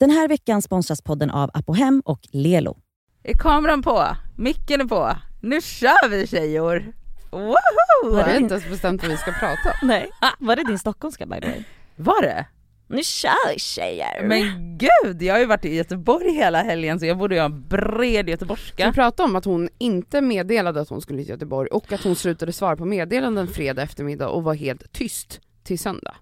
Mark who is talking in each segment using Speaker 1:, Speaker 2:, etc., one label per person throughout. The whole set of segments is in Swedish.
Speaker 1: Den här veckan sponsras podden av Apohem och Lelo.
Speaker 2: Är kameran på? Micken är på? Nu kör vi tjejor! Woho!
Speaker 1: Var
Speaker 3: Vi har
Speaker 1: det, din,
Speaker 3: inte ens bestämt vad vi ska prata om.
Speaker 1: nej. Var det din stockholmska by the way?
Speaker 2: Var det?
Speaker 1: Nu kör vi tjejer!
Speaker 2: Men gud, jag har ju varit i Göteborg hela helgen så jag borde ju ha en bred
Speaker 3: Ska vi
Speaker 2: göteborgska.
Speaker 3: prata om att hon inte meddelade att hon skulle till Göteborg och att hon slutade svara på meddelanden fredag eftermiddag och var helt tyst till söndag.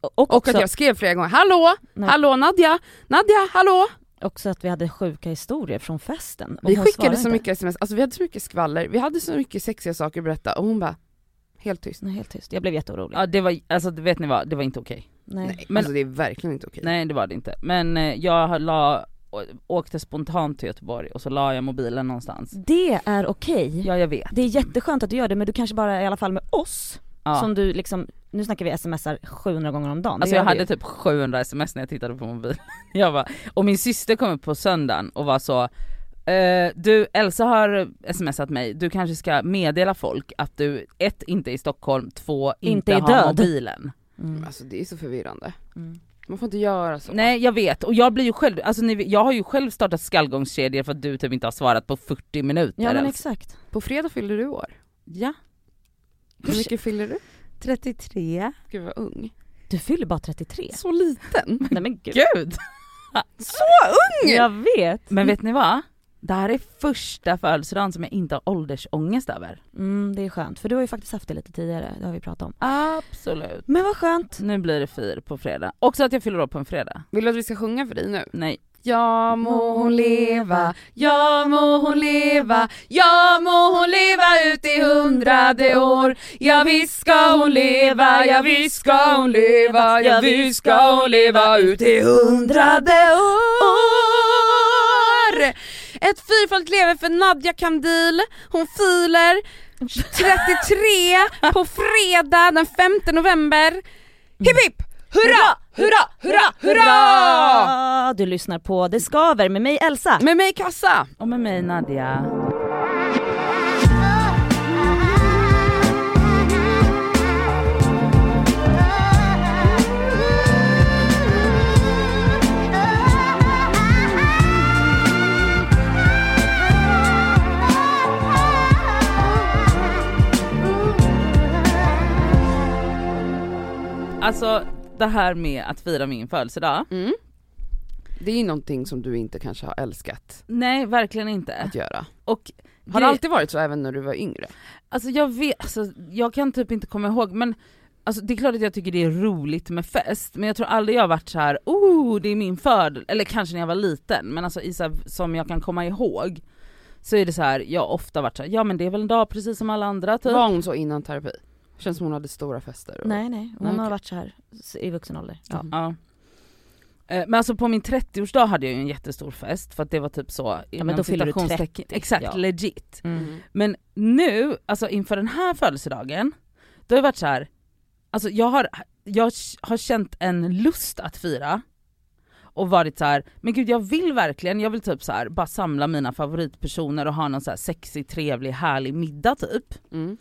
Speaker 1: och
Speaker 3: Och
Speaker 1: också,
Speaker 3: att jag skrev flera gånger, hallå,
Speaker 1: Nej.
Speaker 3: hallå Nadja, Nadja, hallå!
Speaker 1: också att vi hade sjuka historier från festen. och
Speaker 3: Vi
Speaker 1: hon
Speaker 3: skickade
Speaker 1: svarade
Speaker 3: så
Speaker 1: inte.
Speaker 3: mycket sms, alltså vi hade så mycket skvaller, vi hade så mycket sexiga saker att berätta och hon bara, helt tyst.
Speaker 1: Nej, helt tyst. Jag blev jätteorolig.
Speaker 2: Ja det var, alltså vet ni vad, det var inte okej.
Speaker 1: nej.
Speaker 3: Nej,
Speaker 2: Men-
Speaker 3: alltså det är verkligen inte okej.
Speaker 2: Nej det var det inte. Men eh, jag la, å- åkte spontant till Göteborg och så la jag mobilen någonstans.
Speaker 1: Det är okej.
Speaker 2: Ja jag vet.
Speaker 1: Det är jätteskönt att du gör det men du kanske bara i alla fall med oss,
Speaker 2: Ja.
Speaker 1: som du liksom, nu snackar vi smsar 700 gånger om dagen. Det
Speaker 2: Alltså
Speaker 1: gör
Speaker 2: jag
Speaker 1: vi
Speaker 2: hade
Speaker 1: ju.
Speaker 2: typ 700 sms när jag tittade på mobilen. Jag bara, och min syster kom upp på söndagen och var så eh, du Elsa har smsat mig, du kanske ska meddela folk att du ett inte är i Stockholm, två inte,
Speaker 1: Inte är
Speaker 2: har
Speaker 1: död.
Speaker 2: mobilen.
Speaker 1: Mm.
Speaker 3: Alltså det är så förvirrande.
Speaker 1: Mm.
Speaker 3: Man får inte göra så.
Speaker 2: Nej jag vet, och jag blir ju själv, alltså ni, vet- jag har ju själv startat skallgångskedjor för att du typ inte har svarat på 40 minuter
Speaker 1: Ja men
Speaker 2: ens.
Speaker 1: exakt.
Speaker 3: På fredag fyller du år.
Speaker 2: Ja.
Speaker 3: Hur mycket fyller du?
Speaker 2: 33.
Speaker 3: Gud vad ung.
Speaker 1: Du fyller bara 33.
Speaker 3: Så liten.
Speaker 1: Nej men gud.
Speaker 2: Gud!
Speaker 1: Jag vet.
Speaker 2: Men vet ni vad? Det här är första födelsedagen som jag inte har åldersångest över.
Speaker 1: Mm, det är skönt för du har ju faktiskt haft det lite tidigare, det har vi pratat om.
Speaker 2: Absolut.
Speaker 1: Men vad skönt.
Speaker 2: Nu blir det fir på fredag. Också att jag fyller år på en fredag.
Speaker 3: Vill du att vi ska sjunga för dig nu?
Speaker 2: Nej.
Speaker 3: Ja må hon leva, ja må hon leva, ja må hon leva ut i hundrade år. Ja visst ska hon leva, ja visst ska hon leva, ja visst ska hon leva ut i hundrade år. Ett fyrfaldigt leve för Nadja Kandil, hon filer 33 på fredag den 5 november. Hipp hipp! Hurra, hurra, hurra, hurra!
Speaker 1: Hurra! Du lyssnar på Det skaver med mig Elsa.
Speaker 3: Med mig Kassa!
Speaker 2: Och med mig Nadja. Alltså det här med att fira min födelsedag.
Speaker 3: Mm. Det är ju någonting som du inte kanske har älskat
Speaker 2: Nej verkligen inte.
Speaker 3: att göra.
Speaker 2: Och
Speaker 3: Har
Speaker 2: grej-
Speaker 3: det alltid varit så även när du var yngre?
Speaker 2: Alltså jag vet, alltså, jag kan typ inte komma ihåg men Alltså det är klart att jag tycker det är roligt med fest, men jag tror aldrig jag har varit så här: oh det är min födel, eller kanske när jag var liten, men alltså i så här, som jag kan komma ihåg så är det så här, jag har ofta varit så här, ja men det är väl en dag precis som alla andra typ.
Speaker 3: Var hon så innan terapi? Känns som hon hade stora fester. Och...
Speaker 1: Nej nej, hon
Speaker 3: Nej,
Speaker 1: har
Speaker 3: okej.
Speaker 1: varit så här s- i vuxen ålder. Ja.
Speaker 3: Mhm.
Speaker 2: Ja. Eh, Men alltså på min 30-årsdag hade jag ju en jättestor fest för att det var typ så
Speaker 1: men då
Speaker 2: inom
Speaker 1: fyller du
Speaker 2: citationstecken-
Speaker 1: 30,
Speaker 2: Exakt,
Speaker 1: ja.
Speaker 2: legit.
Speaker 1: Mm.
Speaker 3: Mm.
Speaker 2: Men nu, alltså inför den här födelsedagen, då har jag varit så här. alltså jag har, jag har känt en lust att fira och varit så här, men gud jag vill verkligen, jag vill typ så här, bara samla mina favoritpersoner och ha någon så här sexig, trevlig, härlig middag typ.
Speaker 3: Mm.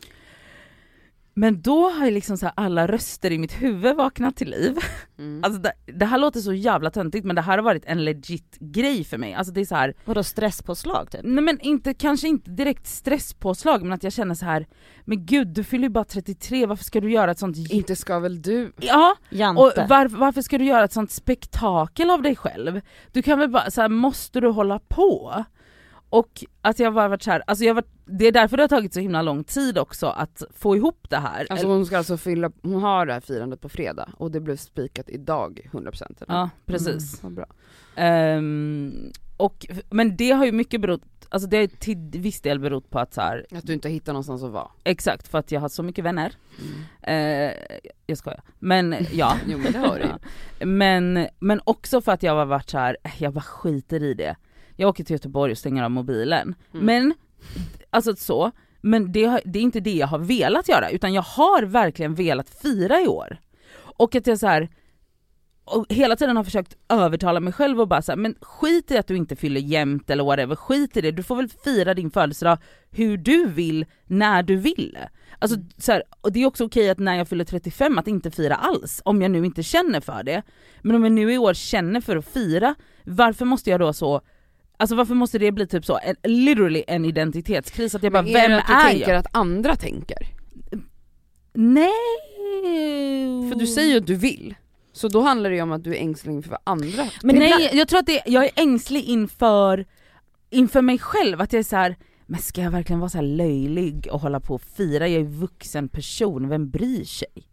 Speaker 2: Men då har ju liksom så här alla röster i mitt huvud vaknat till liv.
Speaker 3: Mm.
Speaker 2: Alltså det, det här låter så jävla töntigt men det här har varit en legit grej för mig. Alltså det är så här,
Speaker 1: Vadå stresspåslag typ?
Speaker 2: nej men inte, kanske inte direkt stresspåslag men att jag känner så här, men gud du fyller ju bara 33 varför ska du göra ett sånt j-
Speaker 3: Inte ska väl du?
Speaker 2: Ja,
Speaker 1: Jante.
Speaker 2: och varför, varför ska du göra ett sånt spektakel av dig själv? Du kan väl bara, så här, måste du hålla på? Och att jag bara varit så här, alltså jag har varit, det är därför det har tagit så himla lång tid också att få ihop det här.
Speaker 3: Alltså hon ska alltså fylla, hon har det här firandet på fredag och det blev spikat idag 100% eller?
Speaker 2: ja precis.
Speaker 3: Vad bra.
Speaker 2: Ehm, och, men det har ju mycket berott, alltså det har ju till viss del berott på att så här,
Speaker 3: Att du inte hittar någonstans att vara.
Speaker 2: exakt för att jag har så mycket vänner. Eh, jag skojar. Men ja.
Speaker 3: Jo men det har du ju.
Speaker 2: men, men också för att jag har varit så här, "Äh, jag bara skiter i det. Jag åker till Göteborg och stänger av mobilen.
Speaker 3: Mm.
Speaker 2: Men, alltså så, men det, har, det är inte det jag har velat göra utan jag har verkligen velat fira i år. Och att jag så här och hela tiden har försökt övertala mig själv och bara så här, men skit i att du inte fyller jämnt eller whatever, skit i det, du får väl fira din födelsedag hur du vill, när du vill. Alltså, så här, och det är också okej att när jag fyller 35 att inte fira alls, om jag nu inte känner för det. Men om jag nu i år känner för att fira, varför måste jag då så Alltså varför måste det bli typ så, en, literally en identitetskris att jag bara,
Speaker 3: Men
Speaker 2: vem
Speaker 3: det att du
Speaker 2: är
Speaker 3: tänker
Speaker 2: jag?
Speaker 3: att andra tänker?
Speaker 2: Nej!
Speaker 3: För
Speaker 2: Mm.
Speaker 3: du säger ju att du vill. Så då handlar det ju om att du är ängslig för vad andra
Speaker 2: Men
Speaker 3: tänker.
Speaker 2: nej, jag tror att det, jag är ängslig inför, inför mig själv, att jag är så här. men ska jag verkligen vara så här löjlig och hålla på och fira? Jag är vuxen person, vem bryr sig?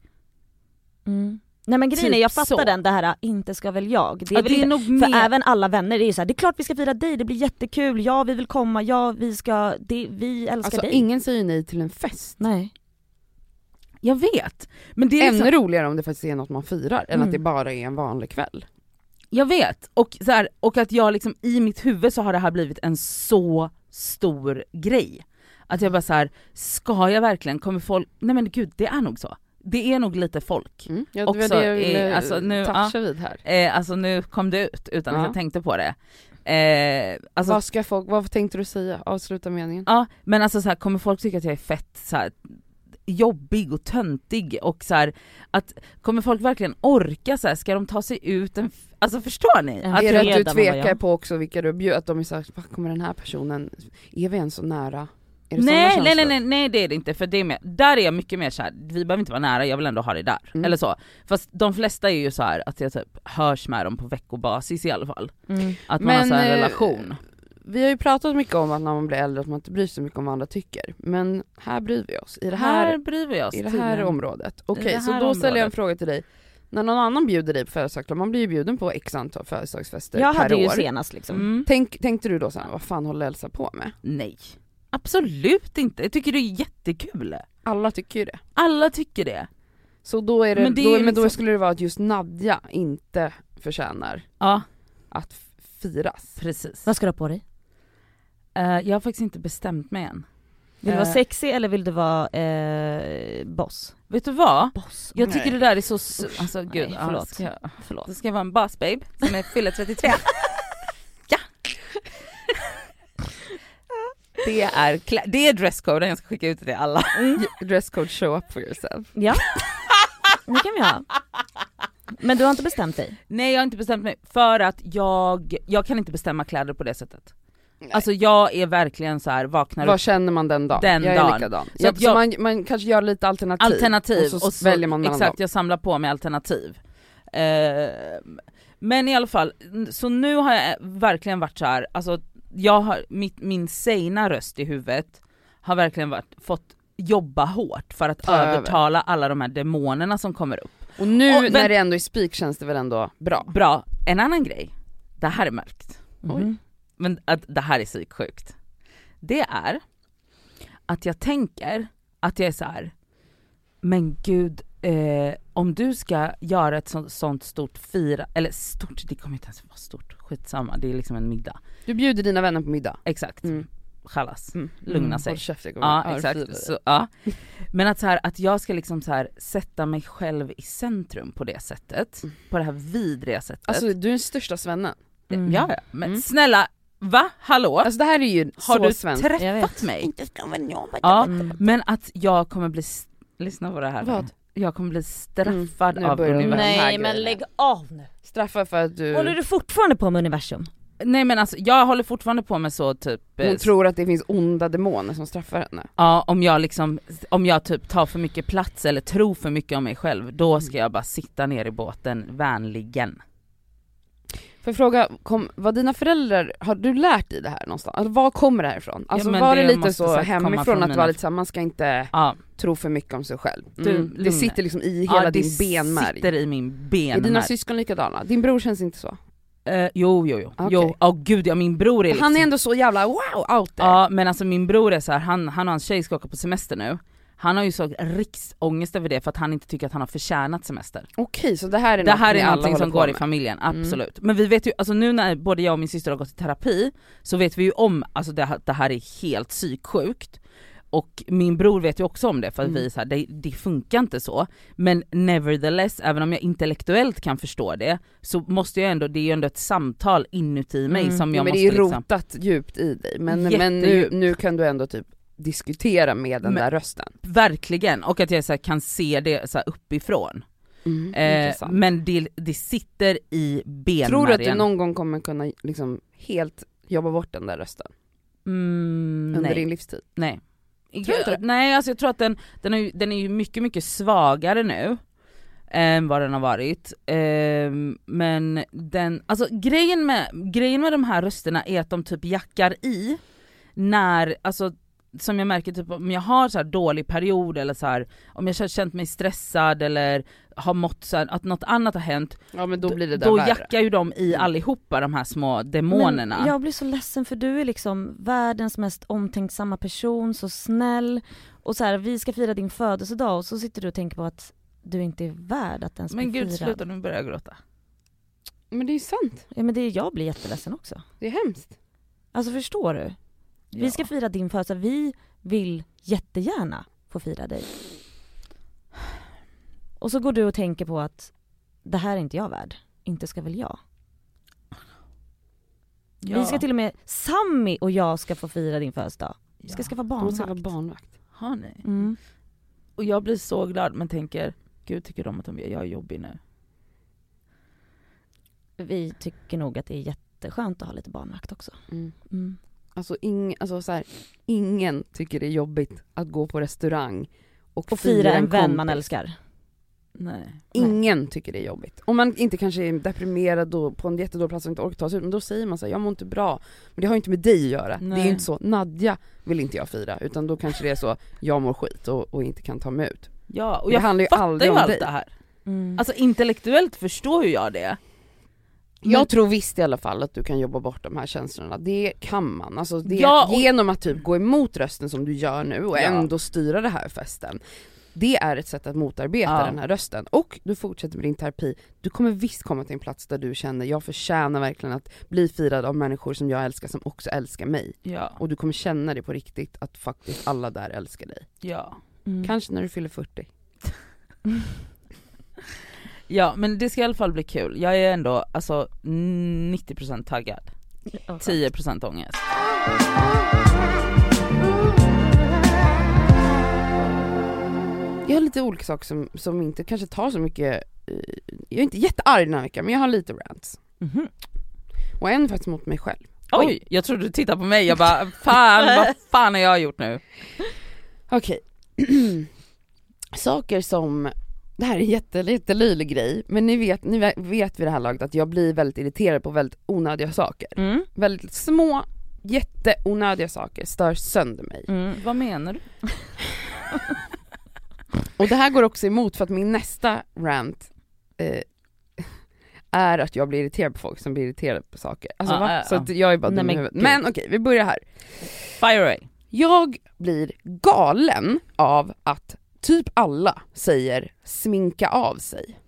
Speaker 1: Mm. Nej men grejen
Speaker 2: Typ
Speaker 1: är, jag fattar
Speaker 2: så.
Speaker 1: den det här, äh, inte ska väl jag. Det är
Speaker 2: Ja,
Speaker 1: väl inte,
Speaker 2: nog
Speaker 1: för även alla vänner, det är ju såhär, det är klart vi ska fira dig, det blir jättekul, ja vi vill komma, ja vi ska, det, vi älskar
Speaker 3: Alltså
Speaker 1: dig.
Speaker 3: ingen säger nej till en fest.
Speaker 1: Nej.
Speaker 2: Jag vet, men det är liksom,
Speaker 3: Ännu roligare om det faktiskt är något man firar än
Speaker 1: Mm.
Speaker 3: att det bara är en vanlig kväll.
Speaker 2: jag vet. Och, så här, och att jag liksom i mitt huvud så har det här blivit en så stor grej. Att jag bara så här, ska jag verkligen, kommer folk, nej men gud det är nog så. Det är nog lite folk.
Speaker 3: Mm. Ja,
Speaker 2: Också är-
Speaker 3: eh,
Speaker 2: alltså nu-
Speaker 3: toucha vid här.
Speaker 2: Eh, alltså nu kom det ut utan att
Speaker 3: Ja.
Speaker 2: jag tänkte på det. Eh, alltså
Speaker 3: vad, ska folk, vad tänkte du säga? Avsluta meningen.
Speaker 2: Ja men alltså så här, kommer folk tycka att jag är fett så här, jobbig och töntig och så här, att kommer folk verkligen orka så här, ska de ta sig ut en, f- alltså förstår ni?
Speaker 1: En
Speaker 2: Att
Speaker 3: är det
Speaker 2: jag,
Speaker 3: att du
Speaker 1: fredag, mamma,
Speaker 3: tvekar
Speaker 1: ja.
Speaker 3: på också vilka du bjöd? Att de är såhär, "Va, kommer den här personen, är vi ens så nära? Är det såna
Speaker 2: nej, nej
Speaker 3: känslor?
Speaker 2: nej nej nej det är det inte för det är mer, där är jag mycket mer såhär, vi behöver inte vara nära, jag vill ändå ha dig där.
Speaker 3: Mm.
Speaker 2: Eller så. Fast de flesta är ju så här att jag typ hörs med dem på veckobasis i alla fall.
Speaker 1: Mm.
Speaker 2: Att man
Speaker 3: Men,
Speaker 2: har så här en
Speaker 3: eh,
Speaker 2: relation.
Speaker 3: Vi har ju pratat mycket om att när man blir äldre att man inte bryr sig mycket om vad andra tycker. Men här bryr vi oss. I det här,
Speaker 2: här bryr vi oss
Speaker 3: i det här
Speaker 2: tydligen.
Speaker 3: området. Okej,
Speaker 2: det
Speaker 3: så då
Speaker 2: här
Speaker 3: ställer jag en
Speaker 2: området.
Speaker 3: fråga till dig. När någon annan bjuder dig på födelsedagsklart, man blir ju bjuden på x antal födelsedagsfester
Speaker 1: Jag
Speaker 3: per
Speaker 1: hade ju
Speaker 3: år.
Speaker 1: senast liksom.
Speaker 2: Mm.
Speaker 3: Tänk, tänkte du då såhär, vad fan håller Elsa på med?
Speaker 2: Nej. Absolut inte, jag tycker det är jättekul.
Speaker 3: Alla tycker ju det.
Speaker 2: Alla tycker det.
Speaker 3: Så då är det,
Speaker 2: Men det är
Speaker 3: då,
Speaker 2: ju
Speaker 3: men då
Speaker 2: liksom-
Speaker 3: skulle det vara att just Nadja inte förtjänar
Speaker 2: Ja,
Speaker 3: att f- firas.
Speaker 2: precis.
Speaker 1: Vad ska du ha på dig?
Speaker 2: Eh, jag har faktiskt inte bestämt mig än.
Speaker 1: Vill du vara
Speaker 2: Eh,
Speaker 1: sexy eller vill du vara eh, boss?
Speaker 2: Vet du vad?
Speaker 1: Boss?
Speaker 2: Jag
Speaker 3: Nej.
Speaker 2: tycker det där är så... s-
Speaker 1: Usch,
Speaker 2: alltså gud,
Speaker 1: nej,
Speaker 2: ja,
Speaker 1: förlåt.
Speaker 2: Ska jag,
Speaker 1: Förlåt.
Speaker 2: då ska jag vara en boss babe som är fyller 33. ja! det är, klä- det är dresscoden jag ska skicka ut till alla.
Speaker 3: Dresscode show up for yourself.
Speaker 1: Ja. Det kan vi ha. Men du har inte bestämt dig?
Speaker 2: Nej jag har inte bestämt mig för att jag, jag kan inte bestämma kläder på det sättet. Alltså jag är verkligen så här vaknar
Speaker 3: Vad känner man den dagen?
Speaker 2: Den
Speaker 3: jag är
Speaker 2: dagen.
Speaker 3: likadan.
Speaker 2: Så
Speaker 3: Så,
Speaker 2: att
Speaker 3: så
Speaker 2: jag-
Speaker 3: man, man kanske gör lite alternativ,
Speaker 2: alternativ
Speaker 3: och, så väljer man mellan
Speaker 2: Exakt,
Speaker 3: dem.
Speaker 2: jag samlar på mig alternativ. Ehm, men i alla fall, n- så nu har jag verkligen varit så här, alltså jag har, mitt, min sena röst i huvudet har verkligen varit, fått jobba hårt för att
Speaker 3: Ta över.
Speaker 2: övertala alla de här demonerna som kommer upp.
Speaker 3: Och nu
Speaker 2: Och vänt-
Speaker 3: när det ändå är spik känns det väl ändå bra?
Speaker 2: Bra, en annan grej. Det här är mörkt.
Speaker 1: Mhm.
Speaker 3: Oj.
Speaker 2: Men att det här är psyksjukt. Det är att jag tänker att jag är så här. men gud, eh, om du ska göra ett sånt, sånt stort fira, eller stort, det kommer inte ens vara stort, skitsamma, det är liksom en middag.
Speaker 3: Du bjuder dina vänner på middag.
Speaker 2: Exakt,
Speaker 3: Mm.
Speaker 2: chalas,
Speaker 3: Mm.
Speaker 2: lugna sig.
Speaker 3: Håll käft, jag kommer
Speaker 2: Ja
Speaker 3: örfila dig.
Speaker 2: exakt. Så, ja. Men att, så här, att jag ska liksom så här, sätta mig själv i centrum på det sättet, på det här vidriga sättet.
Speaker 3: Mm. Alltså du är den största svennen.
Speaker 1: Mm.
Speaker 2: ja, ja. Men
Speaker 3: Mm.
Speaker 2: snälla, va? Hallå?
Speaker 3: Alltså det här är ju
Speaker 2: Har
Speaker 3: så
Speaker 2: du
Speaker 3: svenskt.
Speaker 1: Jag
Speaker 2: träffat
Speaker 1: vet.
Speaker 2: mig?
Speaker 1: Ja.
Speaker 2: Ja,
Speaker 1: Mm.
Speaker 2: men att jag kommer bli, s- lyssna på det här nu.
Speaker 3: Vad?
Speaker 2: Jag kommer bli straffad
Speaker 3: Mm, nu
Speaker 2: av
Speaker 3: börjar det.
Speaker 2: universum.
Speaker 3: Nej,
Speaker 2: Nej.
Speaker 3: här men grejen. lägg
Speaker 1: av nu.
Speaker 3: Straffa för att du,
Speaker 1: Håller du fortfarande på med universum?
Speaker 2: men alltså jag håller fortfarande på med så typ, eh,
Speaker 3: hon tror att det finns onda demoner som straffar henne.
Speaker 2: ja om jag liksom, om jag typ tar för mycket plats eller tror för mycket om mig själv,
Speaker 3: Mm.
Speaker 2: då ska jag bara sitta ner i båten vänligen.
Speaker 3: För fråga, kom, vad dina föräldrar, har du lärt dig det här någonstans? Alltså, var kommer det här ifrån? Alltså
Speaker 2: men
Speaker 3: var det,
Speaker 2: det
Speaker 3: lite
Speaker 2: måste
Speaker 3: så
Speaker 2: säkert komma
Speaker 3: hemifrån
Speaker 2: från
Speaker 3: att du var
Speaker 2: mina-
Speaker 3: lite såhär, man ska inte
Speaker 2: Ja,
Speaker 3: tro för mycket om sig själv.
Speaker 2: Du,
Speaker 3: Mm.
Speaker 2: lugn
Speaker 3: det
Speaker 2: dig.
Speaker 3: sitter liksom i hela
Speaker 2: ja,
Speaker 3: din benmärg.
Speaker 2: sitter i min
Speaker 3: Är dina
Speaker 2: benmärg.
Speaker 3: syskon likadana? Din bror känns inte så.
Speaker 2: Eh, jo jo jo,
Speaker 3: Okej.
Speaker 2: jo, åh gud ja min bror är liksom
Speaker 3: Han är ändå så jävla wow out there.
Speaker 2: Ja men alltså min bror är så här, han, han och hans tjej ska åka på semester nu. Han har ju så riksångest över det för att han inte tycker att han har förtjänat semester.
Speaker 3: Okej så det här är
Speaker 2: Det
Speaker 3: något
Speaker 2: här
Speaker 3: ni
Speaker 2: är
Speaker 3: alla
Speaker 2: någonting
Speaker 3: håller
Speaker 2: som
Speaker 3: på
Speaker 2: går i
Speaker 3: med.
Speaker 2: familjen,
Speaker 3: Mm.
Speaker 2: absolut. Men vi vet ju, alltså nu när både jag och min syster har gått i terapi så vet vi ju om, alltså det, här- det här är helt psyksjukt. Och min bror vet ju också om det för att
Speaker 1: Mm.
Speaker 2: vi är så här, det, det funkar inte så. Men nevertheless, även om jag intellektuellt kan förstå det, så måste jag ändå, det är ju ändå ett samtal inuti mig
Speaker 1: Mm.
Speaker 2: som
Speaker 3: Ja,
Speaker 2: jag
Speaker 3: men
Speaker 2: måste
Speaker 3: det är ju
Speaker 2: liksom...
Speaker 3: rotat djupt i dig, men, men nu,
Speaker 2: Jättedjupt.
Speaker 3: nu kan du ändå typ diskutera med den
Speaker 2: Men-
Speaker 3: där rösten.
Speaker 2: Verkligen, och att jag så här, kan se det så här, uppifrån. Eh,
Speaker 3: Mm, Intressant.
Speaker 2: men det, det sitter i benmärgen.
Speaker 3: Tror du att du någon gång kommer kunna liksom helt jobba bort den där rösten
Speaker 2: mm,
Speaker 3: under
Speaker 2: nej.
Speaker 3: din livstid?
Speaker 2: Nej.
Speaker 3: Tror du inte det?
Speaker 2: Nej alltså jag tror att den, den, är, ju- den är ju mycket mycket svagare nu än vad den har varit. Ehm, men den, alltså grejen med, grejen med de här rösterna är att de typ jackar i när, alltså som jag märker typ om jag har så här dålig period eller så här om jag har känt mig stressad eller har mått så här, att något annat har hänt,
Speaker 3: Ja men då
Speaker 2: d-
Speaker 3: blir det där
Speaker 2: då
Speaker 3: värre.
Speaker 2: jackar ju de i
Speaker 3: Mm.
Speaker 2: allihopa de här små demonerna.
Speaker 1: Men jag blir så ledsen för du är liksom världens mest omtänksamma person, så snäll och så här, vi ska fira din födelsedag och så sitter du och tänker på att du inte är värd att ens
Speaker 2: men
Speaker 1: bli
Speaker 2: gud
Speaker 1: firad.
Speaker 2: sluta nu börjar jag gråta.
Speaker 3: Men det är ju sant,
Speaker 1: Ja men det, jag blir jätteledsen också.
Speaker 3: det är hemskt.
Speaker 1: Alltså förstår du? Vi
Speaker 2: Ja.
Speaker 1: ska fira din födelsedag, vi vill jättegärna få fira dig. Och så går du och tänker på att det här är inte jag värd, inte ska väl jag.
Speaker 2: Ja.
Speaker 1: Vi ska till och med, Sammy och jag ska få fira din födelsedag. Vi ska
Speaker 2: Ja.
Speaker 1: skaffa
Speaker 3: Hon ska vara
Speaker 1: barnvakt.
Speaker 3: barnvakt.
Speaker 2: Har ni?
Speaker 1: Mm.
Speaker 2: Och jag blir så glad men tänker, gud tycker de att de, jag är jobbig nu?
Speaker 1: Vi tycker nog att det är jätteskönt att ha lite barnvakt också.
Speaker 3: Mm.
Speaker 1: Mm.
Speaker 3: Alltså, ing, alltså så här, ingen tycker det är jobbigt att gå på restaurang och,
Speaker 1: Och fira en vän
Speaker 3: kompis.
Speaker 1: man älskar.
Speaker 2: Nej.
Speaker 3: Ingen tycker det är jobbigt. Om man inte kanske är deprimerad och på en jättedålig plats och inte orkar ta sig ut, men då säger man så här, jag mår inte bra. Men det har ju inte med dig att göra. Det är
Speaker 2: Nej.
Speaker 3: ju inte så, Nadja vill inte jag fira, utan då kanske det är så, jag mår skit och, och inte kan ta mig ut.
Speaker 2: Ja, och
Speaker 3: det
Speaker 2: jag
Speaker 3: handlar ju
Speaker 2: fattar
Speaker 3: aldrig
Speaker 2: ju
Speaker 3: om
Speaker 2: allt
Speaker 3: dig.
Speaker 2: det här.
Speaker 1: Mm.
Speaker 2: Alltså intellektuellt förstår ju jag det.
Speaker 3: Jag tror visst i alla fall att du kan jobba bort de här känslorna, det kan man. Alltså det,
Speaker 2: Ja, och-
Speaker 3: Genom att typ gå emot rösten som du gör nu och
Speaker 2: Ja.
Speaker 3: ändå styra det här festen. Det är ett sätt att motarbeta
Speaker 2: Ja.
Speaker 3: den här rösten. Och du fortsätter med din terapi, du kommer visst komma till en plats där du känner jag förtjänar verkligen att bli firad av människor som jag älskar som också älskar mig.
Speaker 2: Ja,
Speaker 3: Och du kommer känna det på riktigt att faktiskt alla där älskar dig.
Speaker 2: ja.
Speaker 1: Mm.
Speaker 3: Kanske när du fyller 40.
Speaker 2: Ja men det ska i alla fall bli kul. Jag är ändå alltså 90% taggad,
Speaker 1: Ja, skönt.
Speaker 2: 10% ångest.
Speaker 3: Jag har lite olika saker som, som inte kanske tar så mycket, eh, jag är inte jättearg den här veckan men jag har lite rants.
Speaker 1: Mhm.
Speaker 3: Och en faktiskt mot mig själv.
Speaker 2: Oj. jag trodde du tittade på mig, jag bara fan vad fan har jag gjort nu?
Speaker 3: Okej. Saker som, det här är en jätte, jättelöjlig grej, men ni vet, ni vet vid det här laget att jag blir väldigt irriterad på väldigt onödiga saker.
Speaker 2: Mm.
Speaker 3: Väldigt små, jätteonödiga saker stör sönder mig.
Speaker 2: Mm. Vad menar du?
Speaker 3: Och det här går också emot för att min nästa rant eh, är att jag blir irriterad på folk som blir irriterade på saker. Alltså
Speaker 2: Ja,
Speaker 3: va?
Speaker 2: ja,
Speaker 3: Så
Speaker 2: ja.
Speaker 3: att jag är bara
Speaker 1: Nej,
Speaker 3: dum i
Speaker 1: men
Speaker 3: huvudet.
Speaker 1: gud.
Speaker 3: Men okej, vi börjar här.
Speaker 2: Fire away.
Speaker 3: Jag blir galen av att typ alla säger sminka av sig.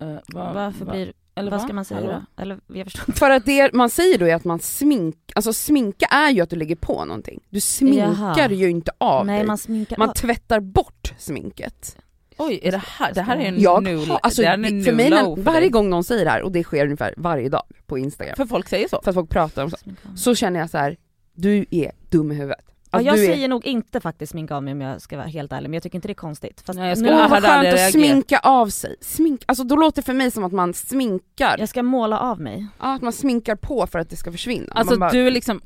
Speaker 2: Eh, va-
Speaker 1: Varför
Speaker 2: va-
Speaker 1: blir,
Speaker 2: eller
Speaker 1: vad
Speaker 2: va?
Speaker 1: ska man säga
Speaker 2: Hallå?
Speaker 1: då? Eller jag förstår
Speaker 3: För att det man säger då är att man smink, alltså sminka är ju att du lägger på någonting. Du sminkar
Speaker 1: Jaha.
Speaker 3: ju inte av
Speaker 1: Nej
Speaker 3: dig.
Speaker 1: man sminkar
Speaker 3: man
Speaker 1: av.
Speaker 3: tvättar bort sminket.
Speaker 2: Oj, är det här, det här är en
Speaker 3: Jag
Speaker 2: new,
Speaker 3: har, alltså,
Speaker 2: Mm, det här är en
Speaker 3: för
Speaker 2: new
Speaker 3: mig,
Speaker 2: low
Speaker 3: när,
Speaker 2: för
Speaker 3: varje
Speaker 2: dig.
Speaker 3: gång någon säger det här, och det sker ungefär varje dag på Instagram,
Speaker 2: För folk säger så.
Speaker 3: för att folk pratar om så,
Speaker 1: Sminka av.
Speaker 3: så känner jag så här: du är dum i huvudet.
Speaker 1: Ja,
Speaker 3: Alltså,
Speaker 1: jag
Speaker 3: du är,
Speaker 1: säger nog inte faktiskt sminka av mig om jag ska vara helt ärlig men jag tycker inte det är konstigt. Fast
Speaker 2: Nej, jag
Speaker 1: nu,
Speaker 2: skulle-
Speaker 3: åh
Speaker 2: hade
Speaker 3: vad skönt
Speaker 2: aldrig
Speaker 3: att
Speaker 2: reagerat.
Speaker 3: sminka av sig. Smink, alltså då låter det för mig som att man sminkar,
Speaker 1: jag ska måla av mig.
Speaker 3: ja, att man sminkar på för att det ska försvinna.
Speaker 2: Alltså
Speaker 3: man bara,
Speaker 2: du är liksom,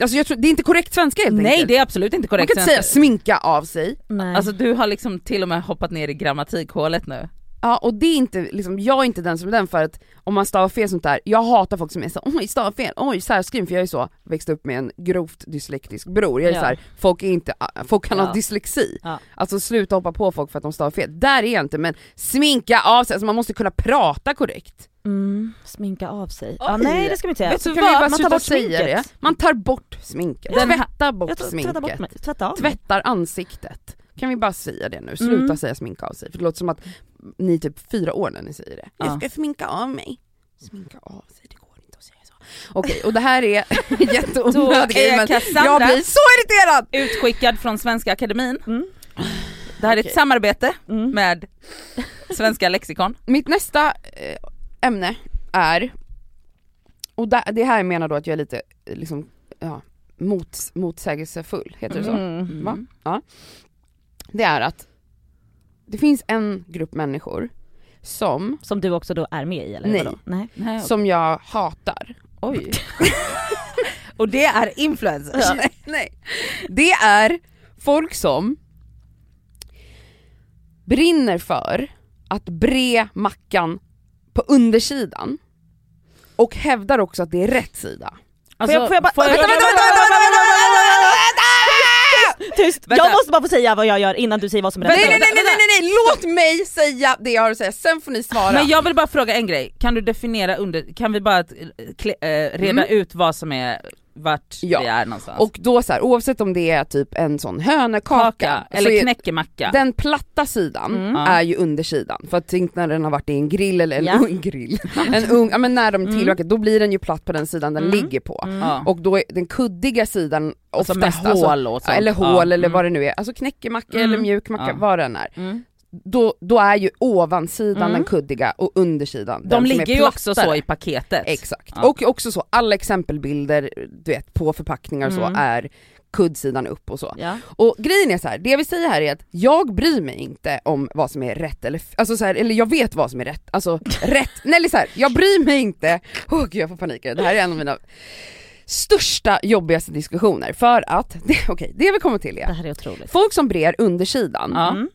Speaker 3: alltså jag tror, det är inte korrekt svenska helt
Speaker 2: nej
Speaker 3: enkelt.
Speaker 2: det är absolut inte
Speaker 3: man
Speaker 2: korrekt.
Speaker 3: kan inte säga sminka av sig,
Speaker 1: Nej.
Speaker 2: Alltså du har liksom till och med hoppat ner i grammatikhålet nu.
Speaker 3: ja, och det är inte, liksom, jag är inte den som är den för att om man stavar fel sånt där, jag hatar folk som är så oj stavar fel, oj särskriven för jag är så, växte upp med en grovt dyslektisk bror, jag är
Speaker 2: Ja.
Speaker 3: så här, folk, är inte, folk kan
Speaker 2: Ja.
Speaker 3: ha dyslexi.
Speaker 2: Ja.
Speaker 3: Alltså sluta hoppa på folk för att de stavar fel, där är jag inte men sminka av sig, alltså man måste kunna prata korrekt.
Speaker 1: mm, sminka av sig. Ja,
Speaker 2: Oj.
Speaker 1: nej det ska man inte
Speaker 2: Vet
Speaker 1: säga.
Speaker 2: du
Speaker 3: Så
Speaker 2: Så
Speaker 3: kan
Speaker 2: vad?
Speaker 3: vi bara
Speaker 2: Man
Speaker 1: tar
Speaker 3: sluta
Speaker 1: bort
Speaker 3: säga
Speaker 1: sminket.
Speaker 3: det, man tar bort sminket,
Speaker 2: Den här-
Speaker 3: tvätta
Speaker 1: Jag
Speaker 3: bort
Speaker 1: tar-
Speaker 3: sminket,
Speaker 1: tvätta bort mig, tvätta av mig.
Speaker 3: tvättar ansiktet. Kan vi bara säga det nu, sluta
Speaker 1: Mm.
Speaker 3: säga sminka av sig, för det låter som att ni är typ fyra år när ni säger det.
Speaker 2: Ja.
Speaker 3: Jag ska sminka av mig. Sminka av sig, det går inte att säga så. Okej, och det här är jätteonödig
Speaker 2: Då är
Speaker 3: grej, men
Speaker 2: Cassandra-
Speaker 3: jag blir så irriterad!
Speaker 2: Utskickad från Svenska Akademin.
Speaker 1: Mm.
Speaker 2: Det här är ett
Speaker 3: Okej.
Speaker 2: samarbete
Speaker 1: Mm.
Speaker 2: med Svenska Lexikon.
Speaker 3: Mitt nästa eh, ämne är, och där, det här menar då att jag är lite eh, liksom, ja, mot, motsägelsefull, heter det så?
Speaker 1: Mm.
Speaker 3: Va? Ja. Det är att det finns en grupp människor som,
Speaker 1: Som du också då är med i eller?
Speaker 3: Nej.
Speaker 1: vadå? Nej.
Speaker 2: Nej,
Speaker 3: som jag hatar.
Speaker 2: Oj. Och det är influencers.
Speaker 3: Nej, nej. Det är folk som brinner för att bre mackan på undersidan och hävdar också att det är rätt sida.
Speaker 2: Alltså,
Speaker 1: får jag bara-
Speaker 2: får jag-
Speaker 1: Vänta, vänta, vänta, vänta, vänta, Tyst!
Speaker 2: Vänta.
Speaker 1: Jag måste bara få säga vad jag gör innan du säger vad som är
Speaker 3: Nej nej
Speaker 1: rätt.
Speaker 3: nej nej nej nej, låt mig säga det jag har att säga, sen får ni svara.
Speaker 2: Men jag vill bara fråga en grej, kan du definiera under, kan vi bara eh, kle, eh, reda ut vad som är, vart
Speaker 3: Ja.
Speaker 2: vi är någonstans?
Speaker 3: Och då så här, oavsett om det är typ en sån hönekaka,
Speaker 2: Kaka,
Speaker 3: så
Speaker 2: eller
Speaker 3: är
Speaker 2: knäckemacka.
Speaker 3: den platta sidan
Speaker 2: Mm.
Speaker 3: är ju undersidan. För att tänk när den har varit i en grill eller en
Speaker 1: Ja.
Speaker 3: ung grill, en ung, ja, men när de
Speaker 2: Mm.
Speaker 3: tillverkar, då blir den ju platt på den sidan den ligger på.
Speaker 2: Ja.
Speaker 3: Och då är den kuddiga sidan
Speaker 2: Alltså
Speaker 3: oftast,
Speaker 2: med hål och sånt.
Speaker 3: eller hål
Speaker 2: Ja,
Speaker 3: eller
Speaker 2: mm.
Speaker 3: vad det nu är, alltså knäckemacka
Speaker 2: Mm.
Speaker 3: eller mjuk macka,
Speaker 2: Ja.
Speaker 3: vad den är.
Speaker 2: Mm.
Speaker 3: Då, då är ju ovansidan den kuddiga och undersidan den
Speaker 2: De
Speaker 3: som är
Speaker 2: ligger ju också
Speaker 3: plattare.
Speaker 2: så i paketet.
Speaker 3: Exakt,
Speaker 2: Ja.
Speaker 3: och också så, alla exempelbilder du vet på förpackningar och så
Speaker 2: Mm.
Speaker 3: är kuddsidan upp och så.
Speaker 1: Ja.
Speaker 3: Och grejen är så här, det jag vill säga här är att jag bryr mig inte om vad som är rätt eller f- alltså så här, eller jag vet vad som är rätt, alltså rätt, nej eller så här, jag bryr mig inte, åh gud jag får panik, det här är en av mina största jobbigaste diskussioner för att, det- okej det vi kommer till
Speaker 1: Det
Speaker 3: är,
Speaker 1: här är otroligt.
Speaker 3: folk som brer undersidan
Speaker 2: Ja.
Speaker 1: Mm.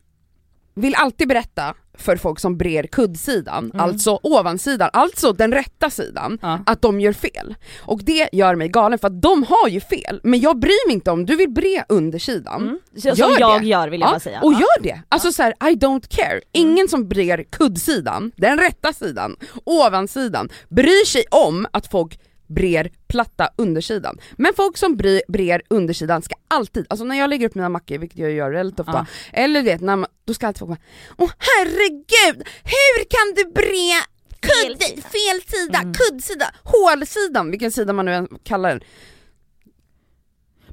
Speaker 3: vill alltid berätta för folk som brer kuddsidan,
Speaker 1: Mm.
Speaker 3: alltså ovansidan, alltså den rätta sidan,
Speaker 2: Ja.
Speaker 3: att de gör fel. Och det gör mig galen för att de har ju fel, men jag bryr mig inte om du vill bre undersidan,
Speaker 1: Mm. Så, som
Speaker 3: Gör
Speaker 1: jag
Speaker 3: det.
Speaker 1: gör vill jag bara säga.
Speaker 3: Och
Speaker 1: Ja. Mm.
Speaker 3: gör det! Alltså så här, I don't care. Ingen som brer kuddsidan, den rätta sidan, ovansidan, bryr sig om att folk brer platta undersidan. Men folk som bry, brer undersidan ska alltid, alltså när jag lägger upp mina mackor, vilket jag gör väldigt ofta,
Speaker 2: Ja.
Speaker 3: eller du vet, när man, då ska alltid folk bara Åh herregud, hur kan du bre kudd,
Speaker 1: Fel sida." Mm.
Speaker 3: fel sida, kuddsida, hålsidan, vilken sida man nu än kallar den.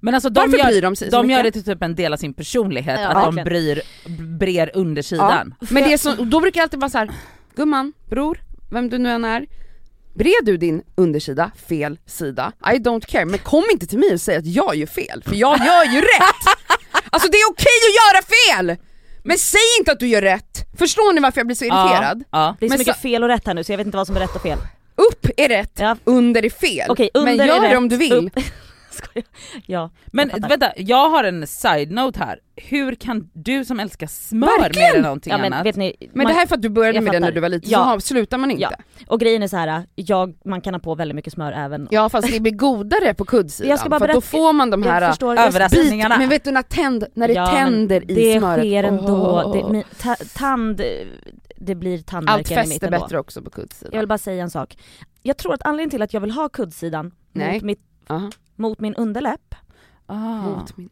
Speaker 2: Men alltså de
Speaker 3: Varför
Speaker 2: gör,
Speaker 3: bryr de sig så
Speaker 2: De gör det
Speaker 3: mycket?
Speaker 2: till typ en del av sin personlighet,
Speaker 1: Ja,
Speaker 2: att de
Speaker 1: verkligen.
Speaker 2: bryr, brer undersidan.
Speaker 3: Ja. Men det är så, och då brukar jag alltid vara så här: gumman, bror, vem du nu än är, bred du din undersida fel sida, I don't care, men kom inte till mig och säg att jag gör fel, för jag gör ju rätt! Alltså det är okej att göra fel! Men säg inte att du gör rätt! Förstår ni varför jag blir så irriterad?
Speaker 2: Ja.
Speaker 1: Det är så
Speaker 3: Men
Speaker 1: mycket
Speaker 3: så-
Speaker 1: fel och rätt här nu så jag vet inte vad som är rätt och fel.
Speaker 3: Upp är rätt,
Speaker 1: Ja.
Speaker 3: under är fel.
Speaker 1: Okej,
Speaker 3: men
Speaker 1: under
Speaker 3: gör
Speaker 1: är
Speaker 3: det
Speaker 1: rätt,
Speaker 3: om du vill.
Speaker 1: upp- Skojar. Ja,
Speaker 2: Men
Speaker 1: jag fattar.
Speaker 2: vänta, jag har en side-note här. Hur kan du som älskar smör mer än någonting
Speaker 1: ja, men,
Speaker 2: annat?
Speaker 1: vet ni,
Speaker 3: Men
Speaker 1: man,
Speaker 3: det här är för att du började
Speaker 1: jag
Speaker 3: med det när
Speaker 1: fattar.
Speaker 3: du var liten,
Speaker 1: Ja.
Speaker 3: så har- slutar man inte.
Speaker 1: Ja.
Speaker 3: Ja,
Speaker 1: och grejen är så här, jag, man kan ha på väldigt mycket smör även
Speaker 3: fast det blir godare på kuddsidan,
Speaker 1: Jag ska bara
Speaker 3: för att då
Speaker 1: berätta-
Speaker 3: får man de här äh,
Speaker 1: jag förstår, jag
Speaker 2: överraskningarna.
Speaker 3: Bit-
Speaker 2: Sändningarna.
Speaker 3: Men vet du när, tänd, när det
Speaker 1: Ja, men
Speaker 3: tänder i
Speaker 1: det
Speaker 3: smöret?
Speaker 1: sker ändå,
Speaker 3: Åh.
Speaker 1: det, min, ta, tand, det blir
Speaker 3: Allt
Speaker 1: tandvärken i
Speaker 3: fäster
Speaker 1: mitten då.
Speaker 3: bättre också på
Speaker 1: Jag
Speaker 3: kuddsidan.
Speaker 1: vill bara säga en sak. Jag tror att anledningen till att jag vill ha kuddsidan
Speaker 3: Nej.
Speaker 1: mot, mitt,
Speaker 3: Aha.
Speaker 1: mot min underläpp,
Speaker 2: ah.
Speaker 3: Mot min-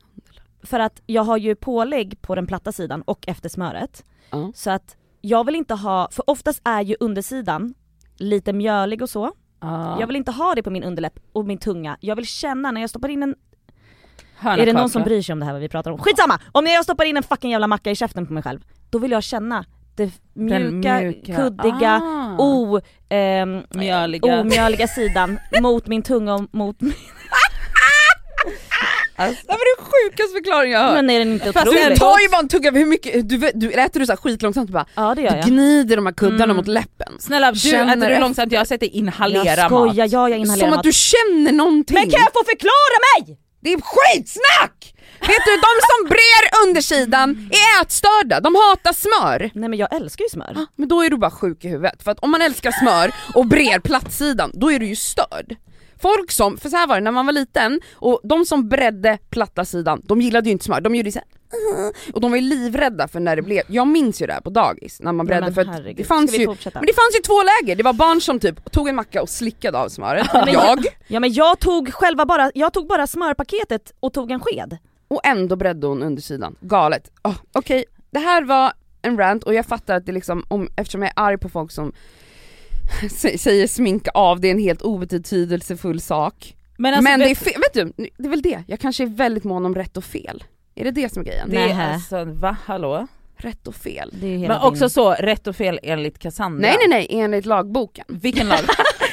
Speaker 1: för att jag har ju pålägg på den platta sidan och efter smöret.
Speaker 3: Ja.
Speaker 1: Så att jag vill inte ha, för oftast är ju undersidan lite mjölig och så.
Speaker 2: Ah.
Speaker 1: Jag vill inte ha det på min underläpp och min tunga. Jag vill känna när jag stoppar in en
Speaker 2: Hörna
Speaker 1: Är det
Speaker 2: kakor.
Speaker 1: någon som bryr sig om det här vad vi pratar om? Skitsamma! Om jag stoppar in en fucking jävla macka i käften på mig själv, då vill jag känna det
Speaker 2: Den
Speaker 1: mjuka, kuddiga,
Speaker 2: ah.
Speaker 1: o, ehm,
Speaker 2: Mjöliga.
Speaker 1: omjöliga sidan mot min tunga och mot min...
Speaker 3: Det
Speaker 2: Alltså,
Speaker 3: var den sjukaste förklaringen jag har hört.
Speaker 1: Men alltså, är den inte
Speaker 2: Fast
Speaker 1: otrolig?
Speaker 2: jag
Speaker 3: Du tar ju bara en tugga, hur mycket, du, vet- du äter du så här skitlångsamt du bara,
Speaker 1: Ja det gör
Speaker 3: du
Speaker 1: jag. Mm.
Speaker 3: gnider de här kuddarna mot läppen.
Speaker 2: Snälla du,
Speaker 3: Känner
Speaker 2: äter du
Speaker 3: efter.
Speaker 2: långsamt? Jag har sett dig inhalera
Speaker 1: Jag skojar,
Speaker 2: mat.
Speaker 1: ja jag inhalerar
Speaker 3: Som att
Speaker 1: mat.
Speaker 3: du känner någonting.
Speaker 1: Men kan jag få förklara mig?
Speaker 3: Det är skitsnack! vet du, de som brer undersidan är ätstörda, de hatar smör.
Speaker 1: Nej men jag älskar ju smör.
Speaker 3: Ah, Men då är du bara sjuk i huvudet, för att om man älskar smör och brer plattsidan, då är du ju störd. Folk som, för så här var det när man var liten, och de som bredde platta sidan, de gillade ju inte smör, de gjorde ju så här, "Ugh", och de var ju livrädda för när det blev, jag minns ju det här på dagis när man
Speaker 1: Nej,
Speaker 3: bredde
Speaker 1: men
Speaker 3: för att det
Speaker 1: herregud.
Speaker 3: fanns
Speaker 1: Ska vi
Speaker 3: ju, men det
Speaker 1: fortsätta?
Speaker 3: fanns ju två läger, det var barn som typ tog en macka och slickade av smöret,
Speaker 1: men
Speaker 3: jag,
Speaker 1: Ja men jag tog själva bara, jag tog bara smörpaketet och tog en sked.
Speaker 3: och ändå bredde hon undersidan. Galet. Oh, Okej, det här var en rant och jag fattar att det liksom, om, eftersom jag är arg på folk som sä- säger smink av, det är en helt obetydelsefull sak.
Speaker 2: Men, alltså,
Speaker 3: men det är
Speaker 2: vet-
Speaker 3: fel, vet du, det är väl det, jag kanske är väldigt mån om rätt och fel. Är det det som är grejen?
Speaker 2: det är
Speaker 1: Nähä.
Speaker 2: alltså, va hallå?
Speaker 3: Rätt och fel?
Speaker 1: Det är ju hela
Speaker 2: Men också
Speaker 1: din...
Speaker 2: så, rätt och fel enligt Cassandra.
Speaker 3: Nej nej nej, enligt lagboken.
Speaker 2: Vilken lag?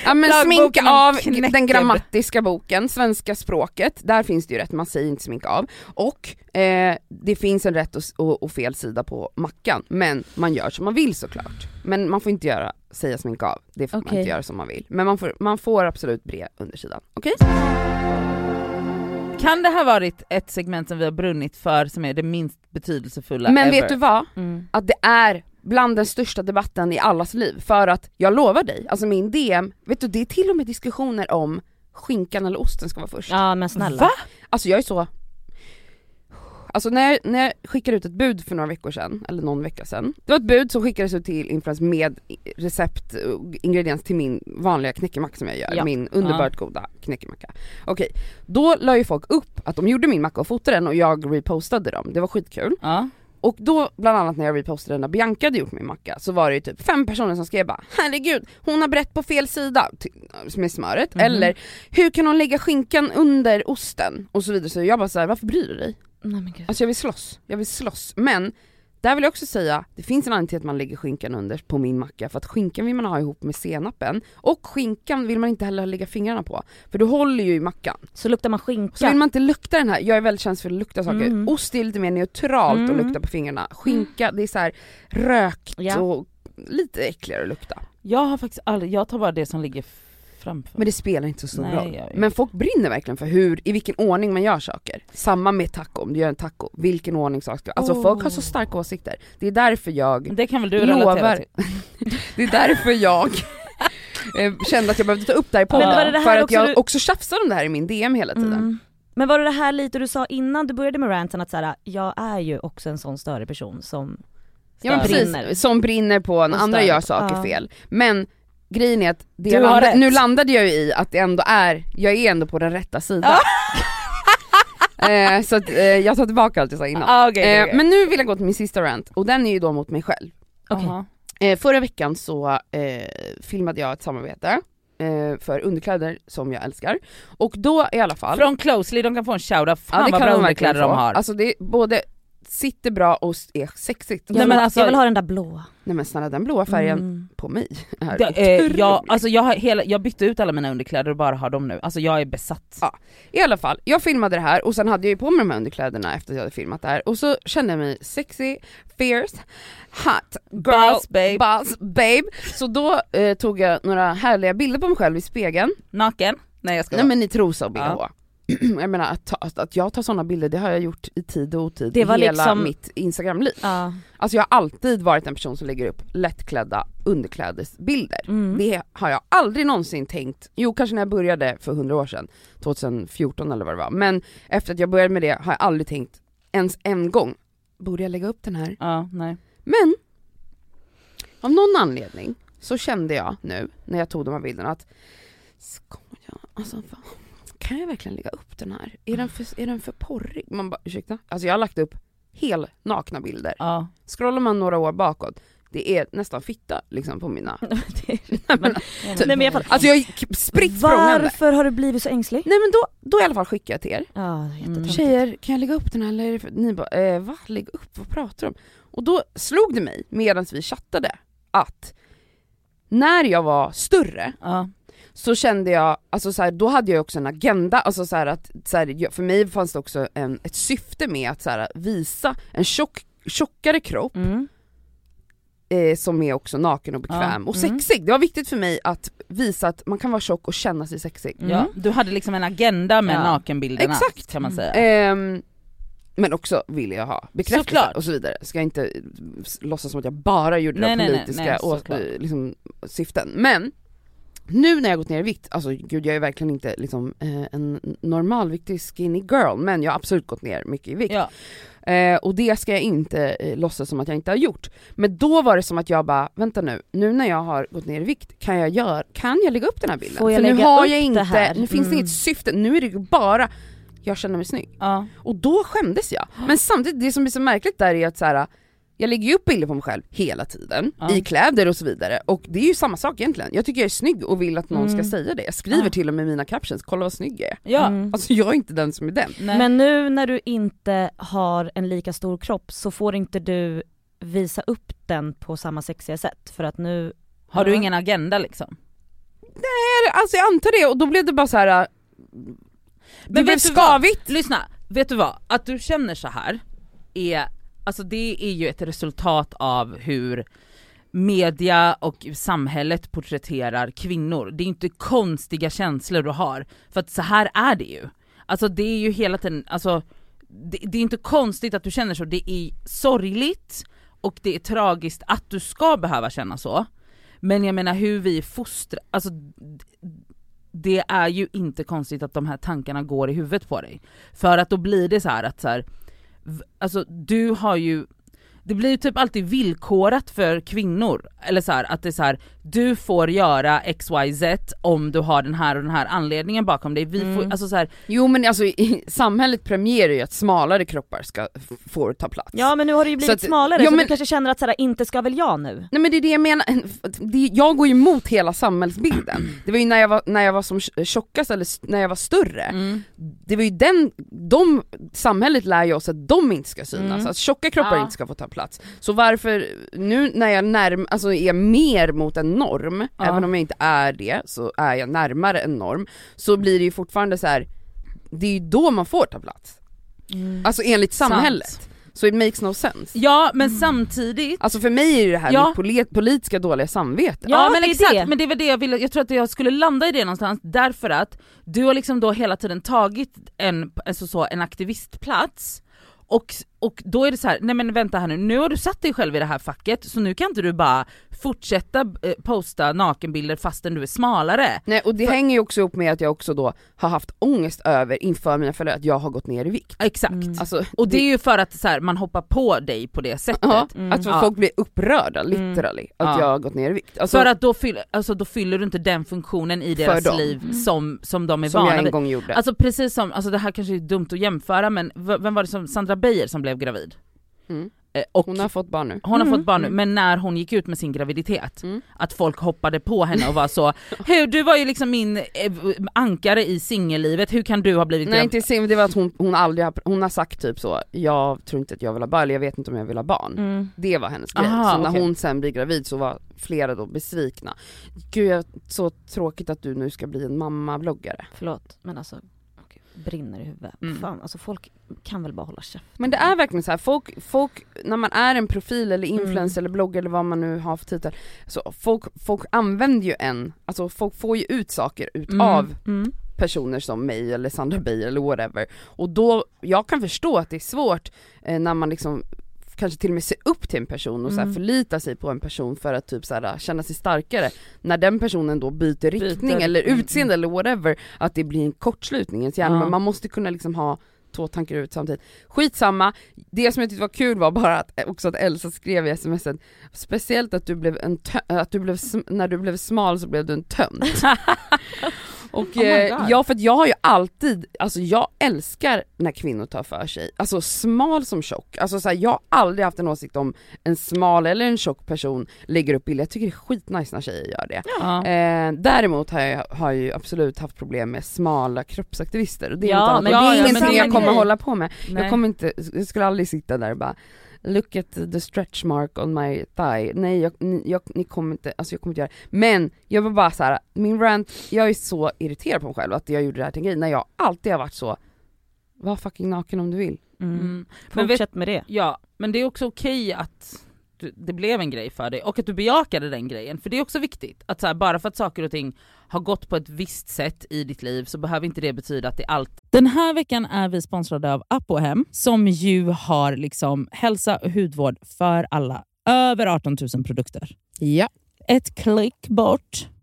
Speaker 3: Ja men
Speaker 2: Lagboken
Speaker 3: smink av
Speaker 2: knäcker.
Speaker 3: den grammatiska boken, svenska språket, där finns det ju rätt, man säger inte smink av. Och eh, det finns en rätt och, s- och, och fel sida på mackan, men man gör som man vill såklart. Men man får inte göra, säga smink av, det får man
Speaker 1: Okej.
Speaker 3: inte göra som man vill. Men man får, man får absolut bre undersidan, okej?
Speaker 2: kan det här varit ett segment som vi har brunnit för som är det minst betydelsefulla
Speaker 3: Men
Speaker 2: ever?
Speaker 3: vet du vad?
Speaker 1: Mm.
Speaker 3: Att det är bland den största debatten i allas liv, för att jag lovar dig, alltså min DM, vet du det är till och med diskussioner om skinkan eller osten ska vara först.
Speaker 1: Ja men snälla.
Speaker 2: Va?
Speaker 3: Alltså jag är så... Alltså när jag, när jag skickade ut ett bud för några veckor sedan, eller någon vecka sedan. Det var ett bud som skickades ut till influens med i- recept och ingrediens till min vanliga knäckemacka som jag gör,
Speaker 1: Ja.
Speaker 3: min underbart goda knäckemacka. Okej, då la ju folk upp att de gjorde min macka och fotade den och jag repostade dem, det var skitkul.
Speaker 2: Ja.
Speaker 3: Och då, bland annat när jag repostade när Bianca hade gjort min macka, så var det ju typ fem personer som skrev bara “herregud, hon har brett på fel sida” till- med smöret,
Speaker 2: Mhm.
Speaker 3: eller “hur kan hon lägga skinkan under osten?” och så vidare. Så jag bara såhär, varför bryr du dig?
Speaker 1: Nej men gud.
Speaker 3: Alltså jag vill slåss, jag vill slåss. Men där vill jag också säga, det finns en anledning till att man lägger skinkan under på min macka, för att skinkan vill man ha ihop med senapen, och skinkan vill man inte heller lägga fingrarna på, för du håller ju i mackan.
Speaker 1: Så luktar man
Speaker 3: Så vill
Speaker 1: skinka.
Speaker 3: man inte lukta den här, jag är väldigt känslig för att lukta saker.
Speaker 1: Mm.
Speaker 3: Ost är lite mer neutralt
Speaker 1: Mm.
Speaker 3: att lukta på fingrarna. Skinka, det är så här rökt
Speaker 1: Ja.
Speaker 3: och lite äckligare att lukta.
Speaker 2: Jag har faktiskt aldrig, jag tar bara det som ligger f- framför.
Speaker 3: Men det spelar inte så stor
Speaker 2: Nej,
Speaker 3: roll.
Speaker 2: jag vet.
Speaker 3: Men folk brinner verkligen för hur, i vilken ordning man gör saker. Samma med taco, om du gör en taco, vilken ordning saker ska Alltså
Speaker 2: Oh.
Speaker 3: folk har så starka åsikter. Det är därför jag,
Speaker 2: det kan väl du
Speaker 3: Lovar.
Speaker 2: relatera till?
Speaker 3: det är därför jag eh, kände att jag behövde ta upp det här i
Speaker 2: Men var det
Speaker 3: podden.
Speaker 1: det här
Speaker 3: För att
Speaker 1: också
Speaker 3: jag
Speaker 1: du-
Speaker 3: också tjafsar om det här i min DM hela tiden.
Speaker 1: Mm. Men var det det här lite du sa innan du började med ranten att såhär, jag är ju också en sån större person som
Speaker 3: Ja men
Speaker 1: Som
Speaker 3: precis,
Speaker 1: brinner.
Speaker 3: som brinner på när
Speaker 1: Och
Speaker 3: andra
Speaker 1: stör.
Speaker 3: gör saker
Speaker 1: Ja.
Speaker 3: fel. Men grejen är att det
Speaker 2: Du har
Speaker 3: landa,
Speaker 2: rätt.
Speaker 3: nu landade jag ju i att det ändå är, jag är ändå på den rätta sidan. eh, så att, eh, jag tar tillbaka allt jag sa innan.
Speaker 2: Ah, okej, okej,
Speaker 3: Eh,
Speaker 2: okej.
Speaker 3: men nu vill jag gå till min sista rant och den är ju då mot mig själv.
Speaker 1: Okej.
Speaker 2: Jaha.
Speaker 3: Eh, förra veckan så eh, filmade jag ett samarbete eh, för underkläder som jag älskar. Och då i alla fall...
Speaker 2: Från Closely, de kan få en shoutout, fan vad bra
Speaker 3: de verkligen
Speaker 2: underkläder de
Speaker 3: få.
Speaker 2: har.
Speaker 3: Alltså det är både sitter bra och är sexigt.
Speaker 1: Jag,
Speaker 2: Nej,
Speaker 1: vill,
Speaker 2: men alltså-
Speaker 1: jag vill ha den där blåa.
Speaker 3: Nej men snälla den blåa färgen
Speaker 1: Mm.
Speaker 3: på mig är
Speaker 2: Det, eh,
Speaker 3: otrolig.
Speaker 2: jag, alltså jag, har hela, jag bytte ut alla mina underkläder och bara har dem nu, alltså jag är besatt.
Speaker 3: Ja. I alla fall, jag filmade det här och sen hade jag ju på mig de här underkläderna efter att jag hade filmat det här och så kände jag mig sexy, fierce, hot, girl,
Speaker 2: Boss babe,
Speaker 3: boss, babe. Så då eh, tog jag några härliga bilder på mig själv i spegeln,
Speaker 2: naken. Nej jag ska
Speaker 3: nej men i trosa och bh. Jag menar att, ta, att- att jag tar sådana bilder det har jag gjort i tid och otid
Speaker 1: Det
Speaker 3: i
Speaker 1: var
Speaker 3: hela
Speaker 1: liksom-
Speaker 3: mitt instagramliv.
Speaker 1: Ja.
Speaker 3: Alltså jag har alltid varit en person som lägger upp lättklädda underklädesbilder.
Speaker 1: Mm.
Speaker 3: Det har jag aldrig någonsin tänkt, jo kanske när jag började för 100 år sedan, 2014 eller vad det var, men efter att jag började med det har jag aldrig tänkt ens en gång, borde jag lägga upp den här?
Speaker 2: Ja, nej.
Speaker 3: Men, av någon anledning så kände jag nu när jag tog de här bilderna att, ska jag, alltså fan, kan jag verkligen lägga upp den här? Är den för, är den för porrig? Man bara, ursäkta? Alltså jag har lagt upp helt nakna bilder.
Speaker 2: Ja.
Speaker 3: Scrollar man några år bakåt, det är nästan fitta liksom på mina,
Speaker 1: Det är- men, nej men jag fattar.
Speaker 3: alltså jag är spritt språngande.
Speaker 1: Varför har du blivit så ängslig?
Speaker 3: Nej men då, då i alla fall skickar jag till er.
Speaker 1: Ja, jättetöntigt.
Speaker 3: Mm. Tjejer, kan jag lägga upp den här? Eller är det för-" ni bara, eh, va? Lägg upp? Vad pratar du om? Och då slog det mig, medan vi chattade, att när jag var större
Speaker 2: Ja.
Speaker 3: så kände jag, alltså så här, då hade jag också en agenda, alltså så här att, så här, jag- för mig fanns det också en, ett syfte med att så här, visa en tjock, tjockare kropp
Speaker 1: Mm.
Speaker 3: eh, som är också naken och bekväm
Speaker 2: Ja,
Speaker 3: och
Speaker 2: mm.
Speaker 3: sexig. Det var viktigt för mig att visa att man kan vara tjock och känna sig sexig.
Speaker 1: Mm.
Speaker 2: Ja. Du hade liksom en agenda med
Speaker 1: Ja.
Speaker 2: nakenbilderna
Speaker 3: Exakt.
Speaker 2: kan man säga.
Speaker 3: Ehm, men också vill jag ha bekräftelse
Speaker 2: Såklart.
Speaker 3: och så vidare. Ska jag inte s- låtsas som att jag bara gjorde det
Speaker 2: Nej,
Speaker 3: av
Speaker 2: nej, nej,
Speaker 3: politiska
Speaker 2: nej,
Speaker 3: å-
Speaker 2: såklart.
Speaker 3: eh, liksom, syften. Men nu när jag gått ner i vikt, alltså gud jag är verkligen inte liksom, eh, en normalviktig skinny girl men jag har absolut gått ner mycket i vikt.
Speaker 2: Ja.
Speaker 3: Eh, och det ska jag inte eh, låtsas som att jag inte har gjort. Men då var det som att jag bara, vänta nu, nu när jag har gått ner i vikt, kan jag, gör, kan jag lägga upp den här bilden?
Speaker 1: Får jag
Speaker 3: För nu
Speaker 1: lägga
Speaker 3: har
Speaker 1: upp
Speaker 3: jag
Speaker 1: det
Speaker 3: inte,
Speaker 1: här?
Speaker 3: nu finns det
Speaker 1: Mm.
Speaker 3: inget syfte, nu är det ju bara, jag känner mig snygg.
Speaker 2: Ja.
Speaker 3: Och då skämdes jag. Men samtidigt, det som är så märkligt där är att så här, Jag lägger ju upp bilder på mig själv hela tiden,
Speaker 2: Ja.
Speaker 3: i kläder och så vidare. Och det är ju samma sak egentligen. Jag tycker jag är snygg och vill att någon
Speaker 1: Mm.
Speaker 3: ska säga det. Jag skriver
Speaker 2: Ja.
Speaker 3: till och med i mina captions, kolla vad snygg jag är.
Speaker 2: Ja,
Speaker 1: Mm.
Speaker 3: Alltså jag är inte den som är den.
Speaker 2: nej.
Speaker 1: Men nu när du inte har en lika stor kropp så får inte du visa upp den på samma sexiga sätt för att nu
Speaker 2: har du ingen agenda liksom?
Speaker 3: Eller, Alltså jag antar det och då blev det bara så här. äh, Det
Speaker 2: vet
Speaker 3: blev
Speaker 2: du vad?
Speaker 3: skavigt.
Speaker 2: Lyssna, vet du vad? Att du känner så här är, alltså det är ju ett resultat av hur media och samhället porträtterar kvinnor. Det är inte konstiga känslor du har, för att så här är det ju. Alltså det är ju hela tiden, alltså det, det är inte konstigt att du känner så, det är sorgligt och det är tragiskt att du ska behöva känna så. Men jag menar hur vi fostrar, alltså d- det är ju inte konstigt att de här tankarna går i huvudet på dig. För att då blir det så här att så här, v- alltså du har ju, det blir ju typ alltid villkorat för kvinnor, eller så här, att det är så här, du får göra XYZ om du har den här och den här anledningen bakom dig. Vi får, alltså så här,
Speaker 3: Jo men alltså i, samhället premierar ju att smalare kroppar ska, f- får ta plats.
Speaker 1: Ja men nu har det ju
Speaker 3: Så
Speaker 1: blivit
Speaker 3: att-
Speaker 1: smalare
Speaker 3: ja,
Speaker 1: så
Speaker 3: men-
Speaker 1: du kanske känner att såhär, inte ska väl jag nu?
Speaker 3: Nej men det är det jag menar, det, jag går ju emot hela samhällsbilden. Det var ju när jag var, när jag var som tjockast eller s- när jag var större,
Speaker 2: Mm.
Speaker 3: det var ju den, de, samhället lär ju oss att de inte ska synas, att tjocka kroppar
Speaker 2: Mm. Ja.
Speaker 3: inte ska få ta plats. Så varför, nu när jag närm, alltså är mer mot en norm,
Speaker 2: Ja.
Speaker 3: även om jag inte är det så är jag närmare en norm, så blir det ju fortfarande så här. det är ju då man får ta plats.
Speaker 2: Mm.
Speaker 3: Alltså enligt samhället. Så it makes no sense.
Speaker 2: ja men samtidigt
Speaker 3: Alltså för mig är ju det här
Speaker 2: Ja.
Speaker 3: mitt poli- politiska dåliga samvete.
Speaker 1: Ja,
Speaker 2: men
Speaker 1: det är
Speaker 2: exakt,
Speaker 1: det.
Speaker 2: men det var det jag ville, jag tror att jag skulle landa i det någonstans därför att du har liksom då hela tiden tagit en, alltså så, en aktivistplats och, och då är det så här, nej men vänta här nu, nu har du satt dig själv i det här facket så nu kan inte du bara fortsätta eh, posta nakenbilder fastän du är smalare.
Speaker 3: Nej och det hänger ju också ihop med att jag också då har haft ångest över inför mina följare att jag har gått ner i vikt.
Speaker 2: Exakt.
Speaker 3: Alltså,
Speaker 2: Och det är ju för att så här, man hoppar på dig på det sättet.
Speaker 3: ja, att
Speaker 2: Mm. Ja. Mm.
Speaker 3: folk blir upprörda literally att
Speaker 2: Ja.
Speaker 3: jag har gått ner i vikt. Alltså,
Speaker 2: för att då, fyll, alltså, då fyller du inte den funktionen i deras
Speaker 3: dem.
Speaker 2: liv som, som de är
Speaker 3: som
Speaker 2: vana
Speaker 3: jag en
Speaker 2: vid.
Speaker 3: gång gjorde.
Speaker 2: Alltså precis som, alltså det här kanske är dumt att jämföra men v- vem var det som, Sandra Beijer som blev gravid?
Speaker 3: Mm.
Speaker 2: Eh, och
Speaker 3: Hon har fått barn nu.
Speaker 1: Mm.
Speaker 2: fått barn nu,
Speaker 1: Mm.
Speaker 2: men när hon gick ut med sin graviditet,
Speaker 3: Mm.
Speaker 2: att folk hoppade på henne och var så Hur, du var ju liksom min eh, ankare i singellivet, hur kan du ha blivit
Speaker 3: Nej
Speaker 2: gravid?
Speaker 3: inte Sim, det var att hon, hon aldrig har, hon har sagt typ så, jag tror inte att jag vill ha barn, eller jag vet inte om jag vill ha barn.
Speaker 1: Mm.
Speaker 3: Det var hennes grej.
Speaker 2: Aha,
Speaker 3: så när
Speaker 2: okej.
Speaker 3: hon sen blir gravid så var flera då besvikna. Gud jag, så tråkigt att du nu ska bli en mammabloggare.
Speaker 1: Förlåt men alltså, gud, brinner i huvudet.
Speaker 3: Mm.
Speaker 1: Fan alltså folk kan väl bara hålla käften.
Speaker 3: Men det är verkligen så här, folk, folk när man är en profil eller influencer eller bloggare eller vad man nu har för titel, så folk, folk använder ju en, alltså folk får ju ut saker utav
Speaker 1: Mm.
Speaker 3: personer som mig eller Sandra Beijer eller whatever. Och då, jag kan förstå att det är svårt eh, när man liksom kanske till och med ser upp till en person och så här
Speaker 1: Mm.
Speaker 3: förlitar sig på en person för att typ så här, känna sig starkare. När den personen då byter riktning eller
Speaker 2: Mm,
Speaker 3: utseende eller whatever, att det blir en kortslutning i ens hjärna.
Speaker 2: Ja.
Speaker 3: Men man måste kunna liksom ha två tankar ut samtidigt. Skitsamma, det som jag tyckte var kul var bara att, eh, också att Elsa skrev i smsen, speciellt att du blev en tö- att du blev sm- när du blev smal så blev du en tönt.
Speaker 1: Oh
Speaker 3: Och
Speaker 2: my
Speaker 3: eh,
Speaker 2: God.
Speaker 3: ja för att jag har ju alltid, alltså jag älskar när kvinnor tar för sig, alltså smal som tjock, alltså så här, jag har aldrig haft en åsikt om en smal eller en tjock person lägger upp bilder, jag tycker det är skitnice när tjejer gör det.
Speaker 2: Ja.
Speaker 3: Eh, däremot har jag, har jag ju absolut haft problem med smala kroppsaktivister och det är,
Speaker 1: Ja,
Speaker 3: något annat.
Speaker 1: men
Speaker 3: Och det
Speaker 1: ja,
Speaker 3: är
Speaker 1: ja,
Speaker 3: ingenting
Speaker 1: men det är
Speaker 3: jag kommer
Speaker 1: en grej.
Speaker 3: hålla på med.
Speaker 2: Nej.
Speaker 3: Jag kommer inte, jag skulle aldrig sitta där och bara Look at the stretch mark on my thigh. Nej jag, ni, jag, ni kommer inte, alltså jag kommer inte göra det. Men jag var bara så här, min rant, jag är så irriterad på mig själv att jag gjorde det här till en grej när jag alltid har varit så, var fucking naken om du vill.
Speaker 1: Mm.
Speaker 2: Mm. Men vet,
Speaker 1: Fortsätt med det.
Speaker 2: ja, men det är också okej att du, det blev en grej för dig och att du bejakade den grejen, för det är också viktigt att så här, bara för att saker och ting har gått på ett visst sätt i ditt liv så behöver inte det betyda att det är allt. Den här veckan är vi sponsrade av Apohem som ju har liksom hälsa och hudvård för alla. Över 18 000 produkter
Speaker 3: Ja.
Speaker 2: ett klick bort.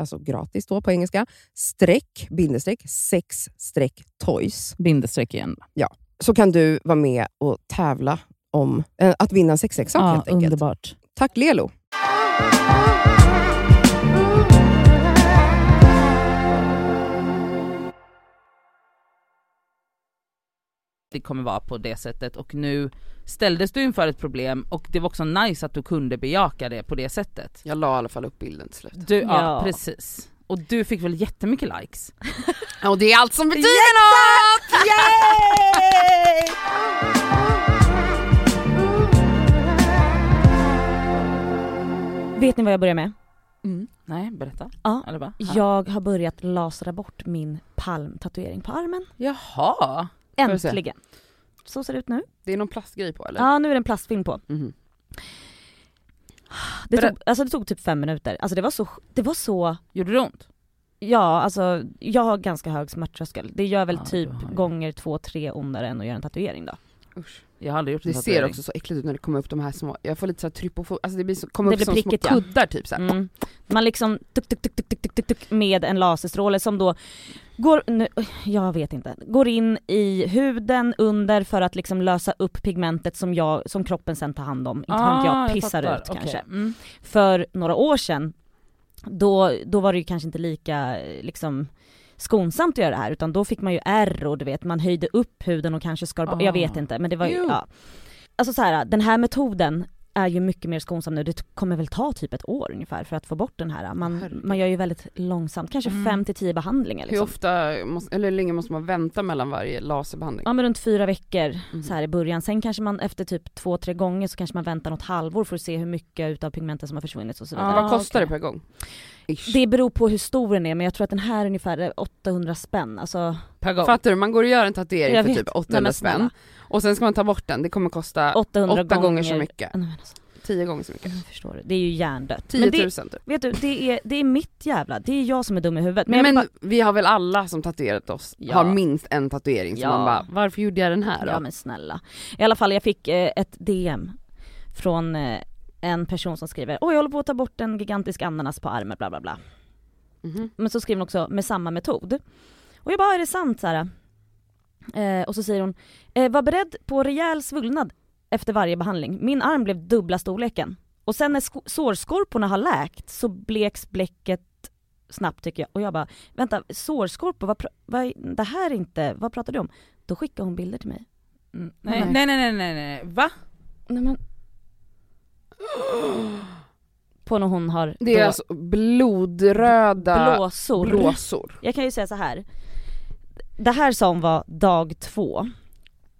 Speaker 4: alltså gratis då på engelska, streck, bindestreck, sex streck toys.
Speaker 2: Bindestreck igen.
Speaker 4: Så kan du vara med och tävla om eh, att vinna en sexleksak
Speaker 2: Ja,
Speaker 4: helt enkelt.
Speaker 2: underbart.
Speaker 4: Tack Lelo!
Speaker 2: det kommer vara på det sättet och nu ställdes du inför ett problem och det var också nice att du kunde bejaka det på det sättet.
Speaker 4: Jag la i alla fall upp bilden till slut.
Speaker 2: Du, ja.
Speaker 1: Ja.
Speaker 2: precis. Och du fick väl jättemycket likes?
Speaker 4: Och det är allt som betyder något!
Speaker 1: Vet ni vad jag börjar med?
Speaker 2: Mm. Nej, berätta.
Speaker 1: Ja.
Speaker 2: Eller va?
Speaker 1: Jag har börjat lasra bort min palmtatuering på armen.
Speaker 2: Jaha.
Speaker 4: Får jag se?
Speaker 1: Äntligen! Så ser det ut nu.
Speaker 4: Det är någon plastgrej på eller?
Speaker 1: Ja nu är det en plastfilm på.
Speaker 4: Mhm.
Speaker 1: Det
Speaker 2: Berä-
Speaker 1: tog, alltså det tog typ fem minuter. Alltså det var så, det var så
Speaker 2: Gjorde det ont?
Speaker 1: Ja, alltså jag har ganska hög smärttröskel. Det gör väl
Speaker 2: Ja,
Speaker 1: typ
Speaker 2: du har ju.
Speaker 1: gånger två, tre ondare än att göra en tatuering då.
Speaker 5: Usch.
Speaker 2: Jag har aldrig gjort en
Speaker 5: Det ser
Speaker 2: tatuering.
Speaker 5: också så äckligt ut när det kommer upp de här små, jag får lite såhär trypofo, alltså det blir så, kommer
Speaker 1: Det
Speaker 5: upp
Speaker 1: blir
Speaker 5: som
Speaker 1: prickigt, ja.
Speaker 5: små kuddar typ såhär.
Speaker 1: Mm. Man liksom tuk, tuk, tuk, tuk, tuk, tuk, tuk, tuk, med en laserstråle som då går, nu, jag vet inte, går in i huden under för att liksom lösa upp pigmentet som, jag, som kroppen sen tar hand om. Inte ah, jag pissar
Speaker 2: fattar.
Speaker 1: ut
Speaker 2: Okej.
Speaker 1: kanske.
Speaker 2: Mm.
Speaker 1: för några år sedan, då, då var det ju kanske inte lika eh, liksom, skonsamt att göra det här utan då fick man ju ärr och du vet man höjde upp huden och kanske skar bort,
Speaker 2: Ah.
Speaker 1: jag vet inte men det var ju,
Speaker 2: Jo.
Speaker 1: ja. alltså så här, den här metoden är ju mycket mer skonsam nu, det kommer väl ta typ ett år ungefär för att få bort den här. Man,
Speaker 3: Herregud.
Speaker 1: man gör ju väldigt långsamt, kanske
Speaker 2: Mm.
Speaker 1: fem till tio behandlingar
Speaker 3: Hur
Speaker 1: liksom.
Speaker 3: ofta, måste, eller hur länge måste man vänta mellan varje laserbehandling?
Speaker 1: Ja men runt fyra veckor
Speaker 2: Mm.
Speaker 3: Mhm.
Speaker 1: så här i början, sen kanske man efter typ två, tre gånger så kanske man väntar något halvår för att se hur mycket utav pigmenten som har försvunnit och så vidare.
Speaker 2: Ja.
Speaker 3: Vad kostar
Speaker 2: okej.
Speaker 3: det per gång? Ish.
Speaker 1: Det beror på hur stor den är men jag tror att den här är ungefär 800 spänn, alltså
Speaker 2: Per gång.
Speaker 3: Fattar du? Man går och gör en tatuering
Speaker 1: Jag
Speaker 3: för
Speaker 1: vet.
Speaker 3: typ
Speaker 1: Nej,
Speaker 3: 800
Speaker 1: men snälla.
Speaker 3: spänn och sen ska man ta bort den, det kommer kosta
Speaker 1: 800
Speaker 3: 8 gånger, så mycket.
Speaker 1: Nej, men alltså,
Speaker 3: 10 gånger så mycket.
Speaker 1: jag förstår det. det är ju hjärndött.
Speaker 3: 10
Speaker 1: Mm. Men
Speaker 3: 000
Speaker 1: det,
Speaker 3: typ.
Speaker 1: vet du, det är, det är mitt jävla, det är jag som är dum i huvudet. Men,
Speaker 3: Men,
Speaker 1: jag bara,
Speaker 3: vi har väl alla som tatuerat oss,
Speaker 1: Ja.
Speaker 3: har minst en tatuering som
Speaker 1: Ja.
Speaker 3: man bara, varför gjorde jag den här då?
Speaker 1: Ja men snälla. I alla fall jag fick eh, ett DM från eh, en person som skriver Åh jag håller på att ta bort en gigantisk ananas på armen bla bla bla.
Speaker 3: Mhm.
Speaker 1: Men så skriver hon också med samma metod. Och jag bara "Ah, är det sant Sara? Eh, och så säger hon eh, Var beredd på rejäl svullnad efter varje behandling. Min arm blev dubbla storleken. Och sen när sko- sårskorporna har läkt så bleks bläcket snabbt tycker jag. Och jag bara vänta sårskorpor, vad, pra- vad, är- det här är inte, vad pratar du om? Då skickar hon bilder till mig.
Speaker 2: Mm. Nej, nej nej nej nej nej, va?
Speaker 1: Alltså, Nej men... På när hon har
Speaker 3: Det är
Speaker 1: då
Speaker 3: alltså blodröda
Speaker 1: blåsor.
Speaker 3: blåsor.
Speaker 1: Jag kan ju säga så här. Det här som var dag två,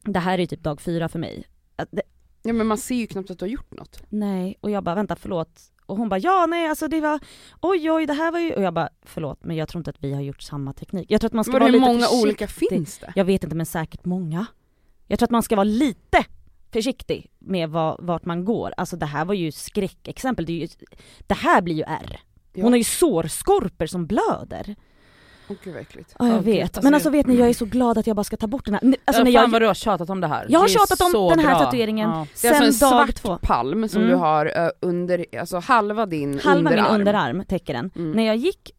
Speaker 1: det här är ju typ dag fyra för mig. Att det,
Speaker 3: Ja men man ser ju knappt att du har gjort något.
Speaker 1: nej, och jag bara vänta förlåt. Och hon bara ja nej alltså det var oj oj det här var ju och jag bara förlåt men jag tror inte att vi har gjort samma teknik. Jag tror att man ska
Speaker 3: Men
Speaker 1: vara
Speaker 3: hur
Speaker 1: lite
Speaker 3: många
Speaker 1: försiktig.
Speaker 3: olika finns det?
Speaker 1: Jag vet inte men säkert många. Jag tror att man ska vara lite försiktig med vad, vart man går. Alltså det här var ju skräckexempel. Det, är ju, det här blir ju ärr. Hon
Speaker 3: Ja.
Speaker 1: har ju sårskorpor som blöder.
Speaker 3: Åh gud vad äckligt.
Speaker 1: Ja jag
Speaker 2: Åh, gud.
Speaker 1: vet.
Speaker 2: Alltså,
Speaker 1: men
Speaker 2: det-
Speaker 1: alltså vet ni jag är så glad att jag bara ska ta bort den här. N- Alltså,
Speaker 2: ja,
Speaker 1: när
Speaker 2: fan
Speaker 1: jag,
Speaker 2: vad du har tjatat om det här.
Speaker 1: Jag har
Speaker 2: Det är
Speaker 1: tjatat om
Speaker 2: så
Speaker 1: den här
Speaker 2: bra.
Speaker 1: tatueringen.
Speaker 2: Ja.
Speaker 3: Det är
Speaker 1: sen
Speaker 3: alltså en
Speaker 1: dag
Speaker 3: svart
Speaker 1: två.
Speaker 3: palm som
Speaker 1: Mm.
Speaker 3: du har ö, under, alltså halva din
Speaker 1: Halva
Speaker 3: underarm.
Speaker 1: min underarm täcker den.
Speaker 3: Mm.
Speaker 1: När jag gick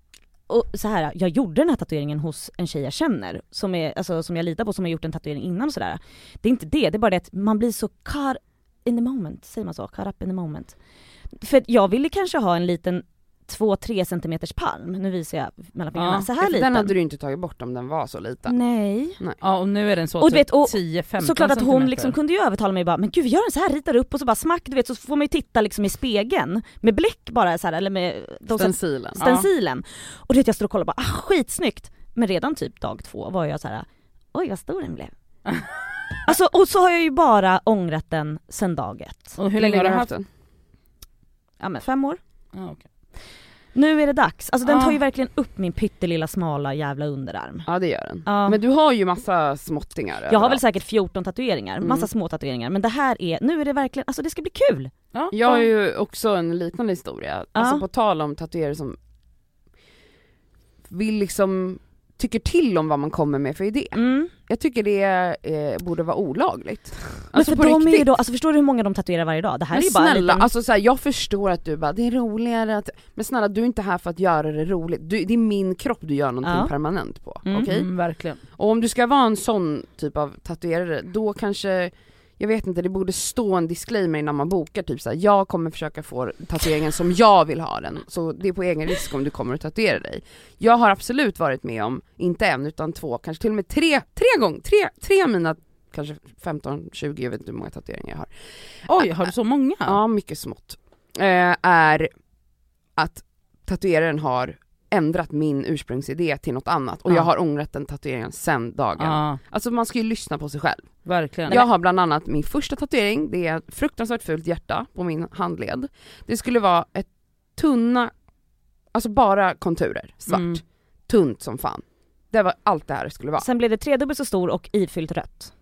Speaker 1: och så här, jag gjorde den här tatueringen hos en tjej jag känner, som, är, alltså, som jag litar på, som har gjort en tatuering innan och sådär. Det är inte det, det är bara det att man blir så car in the moment, säger man så? Car up in the moment. För att jag ville kanske ha en liten 2-3 centimeters palm, nu visar jag mellan fingrarna,
Speaker 2: Ja,
Speaker 1: så
Speaker 3: Ja,
Speaker 1: här
Speaker 3: för
Speaker 1: liten.
Speaker 3: Den hade du inte tagit bort om den var så liten.
Speaker 1: Mm, Nej.
Speaker 2: Ja och nu är den så
Speaker 1: Och du vet, och-
Speaker 2: 10-15
Speaker 1: Såklart att hon
Speaker 2: centimeter.
Speaker 1: liksom kunde ju övertala mig bara, men gud vi gör den så här, ritar upp och så bara smack du vet så får man ju titta liksom i spegeln med bläck bara så här, eller med de så här
Speaker 3: Stencilen.
Speaker 1: stencilen. Och du vet jag står och kollar och bara ah, skitsnyggt. Men redan typ dag två var jag så här: oj vad stor den blev. alltså och så har jag ju bara ångrat den sen dag ett.
Speaker 2: Och hur länge har du haft den?
Speaker 3: den?
Speaker 1: Ja men fem år.
Speaker 2: Ja, okej.
Speaker 1: Nu är det dags. Alltså den
Speaker 2: Ah.
Speaker 1: tar ju verkligen upp min pyttelilla smala jävla underarm.
Speaker 3: Ja det gör den.
Speaker 1: Ja.
Speaker 3: Men du har ju massa småttingar
Speaker 1: jag har väl
Speaker 3: överallt.
Speaker 1: säkert 14 tatueringar, massa
Speaker 3: Mm.
Speaker 1: små tatueringar men det här är, nu är det verkligen, alltså det ska bli kul!
Speaker 2: Ja,
Speaker 3: Jag har ju också en liknande historia,
Speaker 1: Ja.
Speaker 3: alltså på tal om tatuerare som vill liksom, tycker till om vad man kommer med för idé.
Speaker 1: Mm.
Speaker 3: Jag tycker det eh, borde vara olagligt.
Speaker 1: Men
Speaker 3: Alltså
Speaker 1: för
Speaker 3: på
Speaker 1: de
Speaker 3: riktigt.
Speaker 1: är ju då, alltså förstår du hur många de tatuerar varje dag? Det här
Speaker 3: men
Speaker 1: är ju bara
Speaker 3: snälla,
Speaker 1: en liten...
Speaker 3: alltså så här, jag förstår att du bara det är roligare att, men snälla du är inte här för att göra det roligt, du, det är min kropp du gör någonting
Speaker 1: Ja.
Speaker 3: permanent på.
Speaker 1: Mm.
Speaker 3: Okej?
Speaker 2: mm, verkligen.
Speaker 3: Och om du ska vara en sån typ av tatuerare, då kanske jag vet inte, det borde stå en disclaimer innan man bokar, typ såhär, jag kommer försöka få tatueringen som jag vill ha den, så det är på egen risk om du kommer att tatuera dig. Jag har absolut varit med om, inte en utan två, kanske till och med tre, tre gånger, tre, tre av mina kanske 15, 20, jag vet inte hur många tatueringar jag har.
Speaker 2: Oj, har du så många?
Speaker 3: Ja, mycket smått. Eh, är att tatueraren har ändrat min ursprungsidé till något annat och
Speaker 2: Ja.
Speaker 3: jag har ångrat den tatueringen sen dagen.
Speaker 2: Ja,
Speaker 3: Alltså man ska ju lyssna på sig själv.
Speaker 2: verkligen.
Speaker 3: Jag har bland annat min första tatuering, det är ett fruktansvärt fult hjärta på min handled. Det skulle vara ett tunna, alltså bara konturer, svart,
Speaker 2: Mm.
Speaker 3: tunt som fan. Det var allt det här skulle vara.
Speaker 1: Sen blev det tredubbelt så stor och ifyllt rött.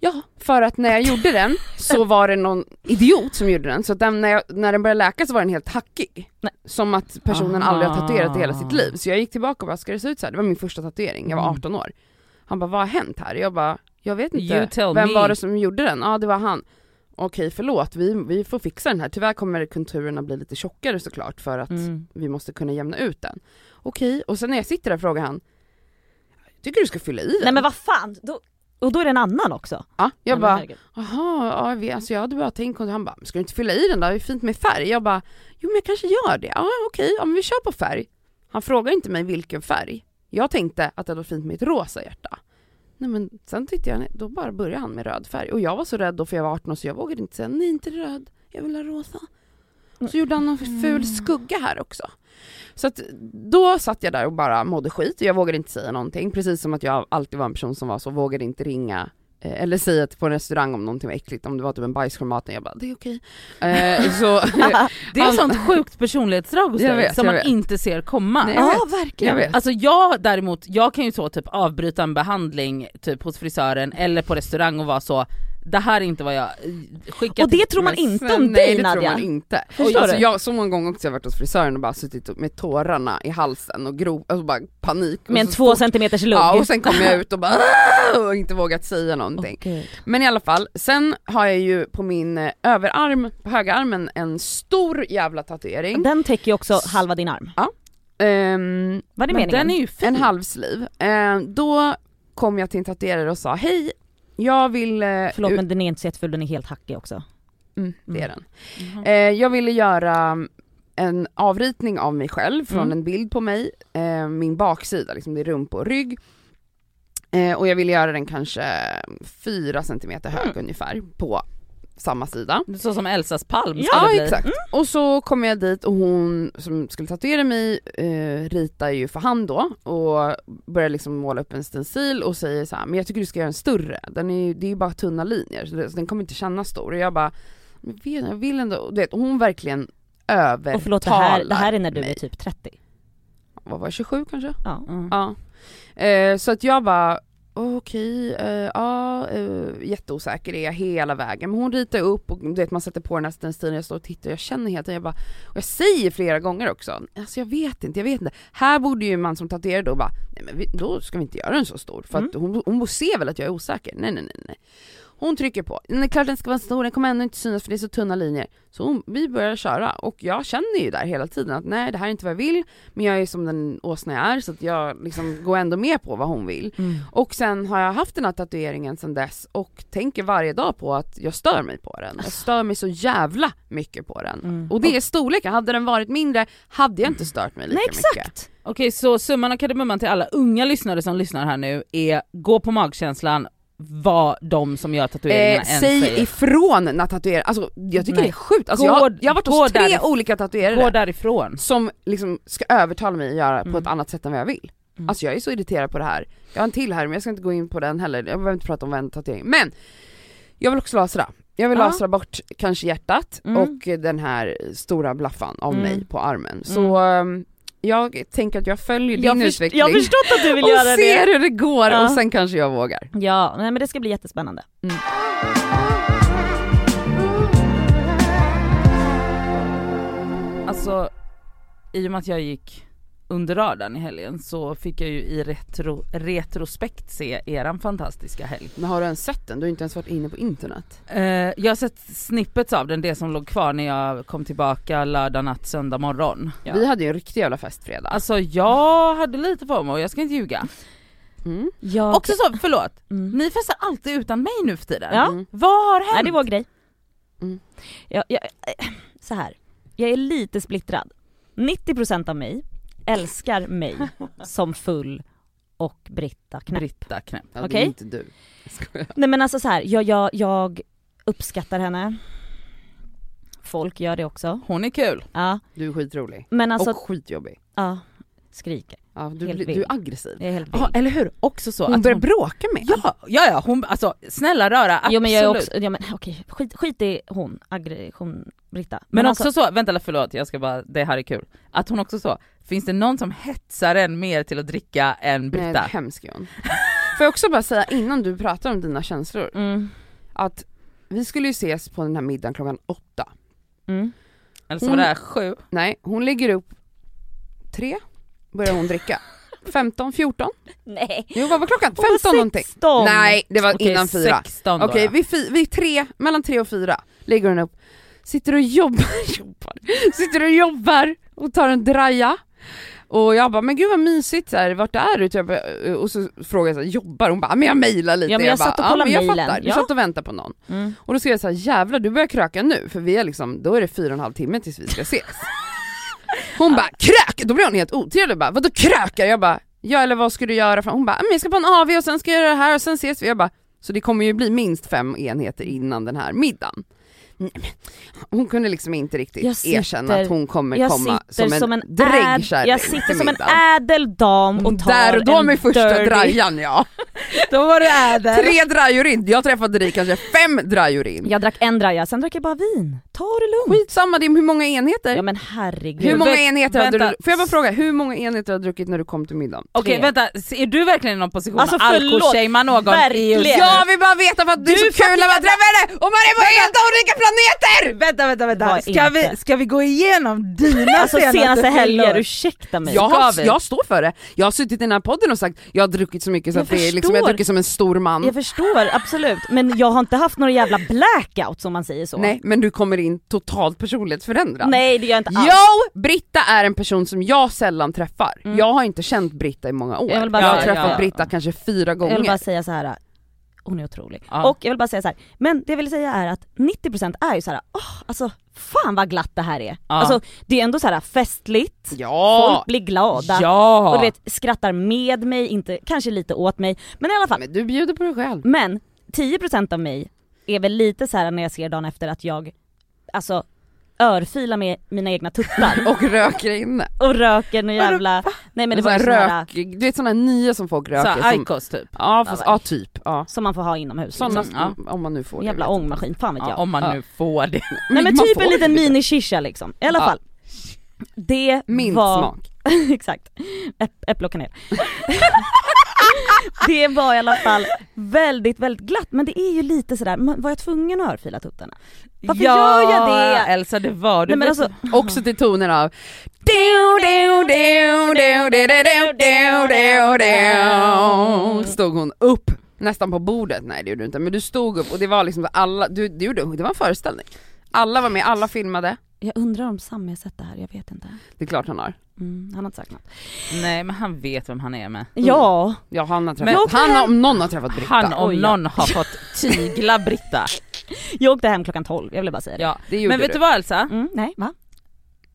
Speaker 3: Ja, för att när jag gjorde den så var det någon idiot som gjorde den, så att den, när, jag, när den började läka så var den helt hackig.
Speaker 1: Nej.
Speaker 3: Som att personen
Speaker 2: Aha.
Speaker 3: aldrig har tatuerat i hela sitt liv. Så jag gick tillbaka och bara, ska det se ut så här? Det var min första tatuering, jag var
Speaker 2: Mm.
Speaker 3: 18 år. Han bara, vad har hänt här? Jag bara, jag vet
Speaker 2: You
Speaker 3: inte.
Speaker 2: tell
Speaker 3: Vem
Speaker 2: me.
Speaker 3: var det som gjorde den? Ja, det var han. Okej, förlåt, vi, vi får fixa den här. Tyvärr kommer konturerna bli lite tjockare såklart för att
Speaker 2: Mm.
Speaker 3: vi måste kunna jämna ut den. Okej, och sen när jag sitter där frågar han, tycker du ska fylla i den?
Speaker 1: Nej men vad fan! Då, och då är det en annan också.
Speaker 3: ja,
Speaker 1: Nej, men
Speaker 3: jag bara,
Speaker 1: herregud.
Speaker 3: Jaha, ja, jag vet, alltså jag hade bara tänkt, och han bara, ska du inte fylla i den där, det är fint med färg. Jag bara, jo men jag kanske gör det, ja okej, ja, men vi kör på färg. Han frågar inte mig vilken färg. Jag tänkte att det var fint med ett rosa hjärta. Nej men sen tyckte jag, nej, då bara började han med röd färg. Och jag var så rädd då för jag var 18 så jag vågade inte säga nej inte röd, jag vill ha rosa. Så gjorde han någon ful skugga här också. Så att då satt jag där och bara mådde skit och jag vågade inte säga någonting. Precis som att jag alltid var en person som var så, vågade inte ringa eh, eller säga till- på en restaurang om någonting var äckligt, om det var typ en bajsformat, jag bara det är okej. Eh, så,
Speaker 2: Det är
Speaker 3: Alla-
Speaker 2: ett sånt sjukt personlighetsdrag hos
Speaker 3: Jag
Speaker 2: dig
Speaker 3: vet,
Speaker 2: som
Speaker 3: jag
Speaker 2: man
Speaker 3: vet.
Speaker 2: inte ser komma.
Speaker 3: Nej, jag
Speaker 1: Ja
Speaker 3: vet. jag
Speaker 1: verkligen.
Speaker 3: vet.
Speaker 2: Alltså jag däremot, jag kan ju så typ avbryta en behandling typ hos frisören eller på restaurang och vara så det här är inte vad jag eh, skickat
Speaker 1: Och det tror man
Speaker 3: Men
Speaker 1: inte
Speaker 3: sen-
Speaker 1: om
Speaker 3: nej,
Speaker 1: dig
Speaker 3: det tror
Speaker 1: Nadja.
Speaker 3: man inte.
Speaker 1: Förstår
Speaker 3: Och, alltså,
Speaker 1: du?
Speaker 3: jag, så många gånger också jag har varit hos frisören och bara suttit och- med tårarna i halsen och grov, alltså bara panik. Och
Speaker 1: Med en
Speaker 3: så
Speaker 1: två
Speaker 3: fort-
Speaker 1: centimeters lugg.
Speaker 3: Ja och sen kom jag ut och bara "Aah!" och inte vågat säga någonting. Men i alla fall, sen har jag ju på min eh, överarm, på högerarmen en stor jävla tatuering.
Speaker 1: Den täcker ju också halva din arm.
Speaker 3: Ehm,
Speaker 1: Var det
Speaker 2: Men
Speaker 1: meningen?
Speaker 2: den är ju fin.
Speaker 3: en halvsliv. Ehm, då kom jag till en tatuerare och sa hej, jag vill... eh,
Speaker 1: Förlåt men den är inte så jättefull, den är helt hackig också.
Speaker 3: Mm, det är
Speaker 1: Mm.
Speaker 3: den. Eh, jag ville göra en avritning av mig själv från
Speaker 1: Mm.
Speaker 3: en bild på mig, eh, min baksida, liksom det är rumpa och rygg. Eh, och jag ville göra den kanske 4 centimeter hög
Speaker 1: Mm.
Speaker 3: ungefär på samma sida.
Speaker 2: Så som Elsas palm
Speaker 1: Ja,
Speaker 2: skulle
Speaker 3: Ja
Speaker 2: bli.
Speaker 3: exakt.
Speaker 1: Mm.
Speaker 3: Och så kom jag dit och hon som skulle tatuera mig eh, ritar ju för hand då och börjar liksom måla upp en stencil och säger så här, men jag tycker du ska göra en större, den är ju, det är ju bara tunna linjer så det- så den kommer inte kännas stor. Och jag bara, men vet jag, jag vill ändå, och du vet, och hon verkligen övertalar
Speaker 1: Och förlåt det här, det här är när du är
Speaker 3: Eh, mig.
Speaker 1: typ 30.
Speaker 3: Vad var jag, 27 kanske?
Speaker 1: Ja.
Speaker 2: Mm.
Speaker 3: Ja. Eh, så att jag bara, okej, eh, ja, eh, jätteosäker är jag hela vägen. Men hon ritar upp och du vet man sätter på den här stencilen, jag står och tittar och jag känner hela tiden, jag bara, och jag säger flera gånger också, alltså jag vet inte, jag vet inte. Här borde ju man som tatuerare då bara, nej men vi, då ska vi inte göra den så stor för att
Speaker 1: Mm.
Speaker 3: hon, hon ser väl att jag är osäker, nej nej nej. nej. Hon trycker på, det är klart den ska vara stor, den kommer ändå inte synas för det är så tunna linjer. Så hon, vi börjar köra och jag känner ju där hela tiden att nej det här är inte vad jag vill, men jag är som den åsna jag är så att jag liksom går ändå med på vad hon vill.
Speaker 1: Mm.
Speaker 3: Och sen har jag haft den här tatueringen sedan dess och tänker varje dag på att jag stör mig på den. Jag stör mig så jävla mycket på den.
Speaker 1: Mm.
Speaker 3: Och det är storleken, hade den varit mindre hade jag inte stört mig lika
Speaker 1: Nej
Speaker 3: mycket.
Speaker 1: exakt!
Speaker 2: Okej så summan av kardemumman till alla unga lyssnare som lyssnar här nu är gå på magkänslan, var de som gör tatueringarna
Speaker 3: Eh,
Speaker 2: än
Speaker 3: säg ifrån när tatueringen, alltså jag tycker
Speaker 2: Nej.
Speaker 3: det är sjukt. Alltså,
Speaker 2: Gå-
Speaker 3: jag, jag har varit
Speaker 2: gå
Speaker 3: hos tre
Speaker 2: där-
Speaker 3: olika
Speaker 2: Gå
Speaker 3: tatuerare
Speaker 2: därifrån.
Speaker 3: som liksom ska övertala mig att göra på
Speaker 1: Mm.
Speaker 3: ett annat sätt än vad jag vill. Alltså jag är så irriterad på det här. Jag har en till här men jag ska inte gå in på den heller, jag behöver inte prata om en tatuering. Men! Jag vill också lasra. Jag vill
Speaker 1: Ja.
Speaker 3: lasra bort kanske hjärtat
Speaker 1: Mm.
Speaker 3: och den här stora blaffan av
Speaker 1: Mm.
Speaker 3: mig på armen. Så ehm, jag tänker att jag följer din
Speaker 1: Jag, först-
Speaker 3: utveckling
Speaker 1: jag har förstått att du vill
Speaker 3: och
Speaker 1: göra
Speaker 3: ser
Speaker 1: det.
Speaker 3: hur det går
Speaker 1: Ja.
Speaker 3: och sen kanske jag vågar.
Speaker 1: Ja, nej men det ska bli jättespännande.
Speaker 2: Alltså i och med att jag gick under radarn i helgen så fick jag ju i retro, retrospekt se eran fantastiska helg.
Speaker 3: Men har du ens sett den? Du har inte ens varit inne på internet.
Speaker 2: Eh, jag har sett snippets av den, det som låg kvar när jag kom tillbaka lördag natt, söndag morgon.
Speaker 3: Vi hade ju en riktig jävla fest fredag.
Speaker 2: Alltså jag hade lite på mig och jag ska inte ljuga.
Speaker 3: Mm.
Speaker 1: Jag...
Speaker 2: Också så, förlåt,
Speaker 1: Mm.
Speaker 2: ni festar alltid utan mig nu för tiden.
Speaker 1: Ja.
Speaker 3: Mm.
Speaker 2: Vad har hänt?
Speaker 1: Nej det är vår grej.
Speaker 3: Mm.
Speaker 1: Jag, jag, eh, så här. jag är lite splittrad. 90% av mig älskar mig som full och Britta knäpp.
Speaker 2: Britta Knäpp.
Speaker 3: Ja, det
Speaker 1: Okej.
Speaker 3: är inte du. Jag skojar.
Speaker 1: Nej men alltså så här, jag, jag, jag uppskattar henne. Folk gör det också.
Speaker 2: Hon är kul.
Speaker 1: Ja,
Speaker 3: Du är skitrolig.
Speaker 1: men alltså,
Speaker 3: och skitjobbig.
Speaker 1: ja. Skriker.
Speaker 3: Ja, du,
Speaker 1: Helt
Speaker 3: blir-
Speaker 1: vild.
Speaker 3: du är aggressiv.
Speaker 1: Jag är helt
Speaker 2: Ja
Speaker 1: vild.
Speaker 2: eller hur, också så.
Speaker 3: Hon
Speaker 2: att
Speaker 3: börjar bråka med
Speaker 2: Ja, ja, ja hon, alltså snälla röra, absolut.
Speaker 1: Jo men jag är också, ja, men, okej skit, skit i hon, aggression, Britta.
Speaker 2: Men,
Speaker 1: alltså-
Speaker 2: också så, vänta förlåt jag ska bara, det här är kul. Att hon också så, finns det någon som hetsar en mer till att dricka än
Speaker 3: Nej, det är
Speaker 2: Britta?
Speaker 3: hemsk är hon. Får jag också bara säga innan du pratar om dina känslor,
Speaker 1: Mm,
Speaker 3: att vi skulle ju ses på den här middagen klockan åtta.
Speaker 1: mm.
Speaker 2: Eller så var det här sju.
Speaker 3: Nej, hon lägger upp tre, börjar hon dricka. 15, 14?
Speaker 1: Nej.
Speaker 3: Jo vad var klockan?
Speaker 1: Hon var
Speaker 3: 15 någonting?
Speaker 1: 16.
Speaker 3: Nej det var innan fyra.
Speaker 2: 16 då.
Speaker 3: Okej
Speaker 2: då.
Speaker 3: vi, fi- vi är tre, mellan tre och fyra lägger hon upp, sitter och jobbar, jobbar, sitter och jobbar och tar en draja. Och jag bara, men gud vad mysigt, så här, vart är du? Typ. Och så frågar jag, så här, jobbar hon? bara, men jag mejlar lite.
Speaker 1: Ja, men jag
Speaker 3: bara,
Speaker 1: satt och kollade
Speaker 3: men jag
Speaker 1: mejlen."
Speaker 3: fattar, du
Speaker 1: Ja.
Speaker 3: satt och väntade på någon.
Speaker 1: Mm.
Speaker 3: Och då skrev jag så här, jävlar du börjar kröka nu, för vi är liksom, då är det fyra och en halv timme tills vi ska ses. Hon bara, krök! Då blir hon helt otrevlig och bara, vadå kröka? Jag bara, ja eller vad ska du göra? För Hon bara, men jag ska på en AV och sen ska jag göra det här och sen ses vi. Jag bara, så det kommer ju bli minst fem enheter innan den här middagen. Nej, men Hon kunde liksom inte riktigt
Speaker 1: Jag sitter-
Speaker 3: erkänna att hon kommer
Speaker 1: Jag
Speaker 3: komma
Speaker 1: sitter
Speaker 3: som en,
Speaker 1: äd,
Speaker 3: dräggkärring
Speaker 1: Jag sitter
Speaker 3: till
Speaker 1: som en
Speaker 3: middagen.
Speaker 1: ädel dam och tar
Speaker 3: Där och då
Speaker 1: en
Speaker 3: med första
Speaker 1: dirty-
Speaker 3: drajan ja.
Speaker 2: Då var det ädel.
Speaker 3: Tre drajor in, jag träffade dig kanske fem drajor in.
Speaker 1: Jag drack en draja, sen drack jag bara vin. Ta det lugnt.
Speaker 3: Skitsamma det är hur många enheter?
Speaker 1: Ja men herregud.
Speaker 3: hur många
Speaker 2: Vä-
Speaker 3: enheter hade
Speaker 2: vänta.
Speaker 3: du, får jag bara fråga, hur många enheter har du druckit när du kom till middagen?
Speaker 2: Okej
Speaker 1: Tre.
Speaker 2: vänta, är du verkligen i någon position
Speaker 1: Alltså,
Speaker 2: att
Speaker 1: förlåt,
Speaker 2: alkoholshamea någon? i just-
Speaker 1: verkligen.
Speaker 3: Jag vill bara veta för att det är
Speaker 2: Du
Speaker 3: så kul när man träffar henne och man är på helt olika planeter!
Speaker 2: Vänta vänta vänta,
Speaker 1: Var
Speaker 2: ska
Speaker 1: inte.
Speaker 2: vi, ska vi gå igenom dina
Speaker 1: Alltså senaste helger, ursäkta mig.
Speaker 3: Jag, har,
Speaker 2: Ska vi?
Speaker 3: jag står för det, jag har suttit i den här podden och sagt jag har druckit så mycket så
Speaker 1: Jag
Speaker 3: att det är liksom, jag har
Speaker 1: förstår.
Speaker 3: druckit som en stor man.
Speaker 1: Jag förstår absolut, men jag har inte haft några jävla blackout som man säger så.
Speaker 3: Nej men du kommer in totalt personlighetsförändrad.
Speaker 1: Nej det gör jag inte alls.
Speaker 3: Jo! Britta är en person som jag sällan träffar. Jag har inte känt Britta i många
Speaker 1: Mm.
Speaker 3: år.
Speaker 1: Jag
Speaker 3: Jag,
Speaker 1: vill bara
Speaker 3: har
Speaker 1: säga-
Speaker 3: träffat
Speaker 2: ja.
Speaker 3: Britta kanske fyra
Speaker 1: Jag vill bara
Speaker 3: gånger.
Speaker 1: säga så här. hon är otrolig.
Speaker 2: Ja.
Speaker 1: Och jag vill bara säga så här. men det jag vill säga är att 90% är ju så här, åh alltså fan vad glatt det här är.
Speaker 2: Ja.
Speaker 1: Alltså det är ändå så här festligt, folk
Speaker 3: Ja!
Speaker 1: blir glada.
Speaker 2: Ja!
Speaker 1: Och du vet, skrattar med mig, inte, kanske lite åt mig. Men i alla fall,
Speaker 3: Men du bjuder på dig själv.
Speaker 1: men 10% av mig är väl lite så här när jag ser dagen efter att jag alltså örfilar med mina egna tuttar
Speaker 3: Och röker inne.
Speaker 1: och röker någon jävla... Nej men det
Speaker 3: Så
Speaker 1: var
Speaker 3: här
Speaker 1: ju sån här
Speaker 3: rök, du vet sådana här nya som folk röker.
Speaker 2: så
Speaker 3: Som,
Speaker 2: Icos typ.
Speaker 3: ja, fast, ja typ. Ja.
Speaker 1: som man får ha inomhus.
Speaker 3: Sådana
Speaker 1: liksom.
Speaker 2: ja.
Speaker 3: som- om man nu får det.
Speaker 1: Jävla
Speaker 3: vet jag.
Speaker 1: ångmaskin, fan vet
Speaker 2: Ja,
Speaker 1: jag.
Speaker 2: om man
Speaker 3: Ja.
Speaker 2: nu får det.
Speaker 1: Nej men
Speaker 3: Man
Speaker 1: typ
Speaker 3: får
Speaker 1: en
Speaker 3: det
Speaker 1: liten
Speaker 3: lite.
Speaker 1: mini-shisha liksom. I alla
Speaker 3: Ja.
Speaker 1: fall. Det
Speaker 3: Mint
Speaker 1: var...
Speaker 3: smak.
Speaker 1: Exakt. Äpp, äpple och kanel. det var i alla fall väldigt, väldigt glatt men det är ju lite sådär, man- var jag tvungen att örfila tuttarna? Varför
Speaker 2: ja,
Speaker 1: gör jag det?
Speaker 2: Elsa det var du.
Speaker 1: Nej men
Speaker 2: Vet-
Speaker 1: alltså,
Speaker 3: Också till toner av Stod hon upp nästan på bordet, nej det gjorde du inte, men du stod upp och det var liksom alla, du, du gjorde, det var en föreställning. Alla var med, alla filmade.
Speaker 1: jag undrar om Sami har sett det här, jag vet inte.
Speaker 3: Det är klart han har.
Speaker 1: Mm, han har inte sagt något.
Speaker 2: Nej men han vet vem han är med.
Speaker 1: Ja,
Speaker 3: Ja han har
Speaker 2: Men
Speaker 3: träffat,
Speaker 2: jag åkte
Speaker 3: han
Speaker 1: hem-
Speaker 3: om någon har träffat Britta.
Speaker 2: Han om
Speaker 1: Oj, ja.
Speaker 2: någon har fått tygla Britta.
Speaker 1: jag åkte hem klockan 12, jag ville bara säga det.
Speaker 2: Ja.
Speaker 3: det gjorde
Speaker 2: Men vet du vad Elsa?
Speaker 1: Mm, nej va?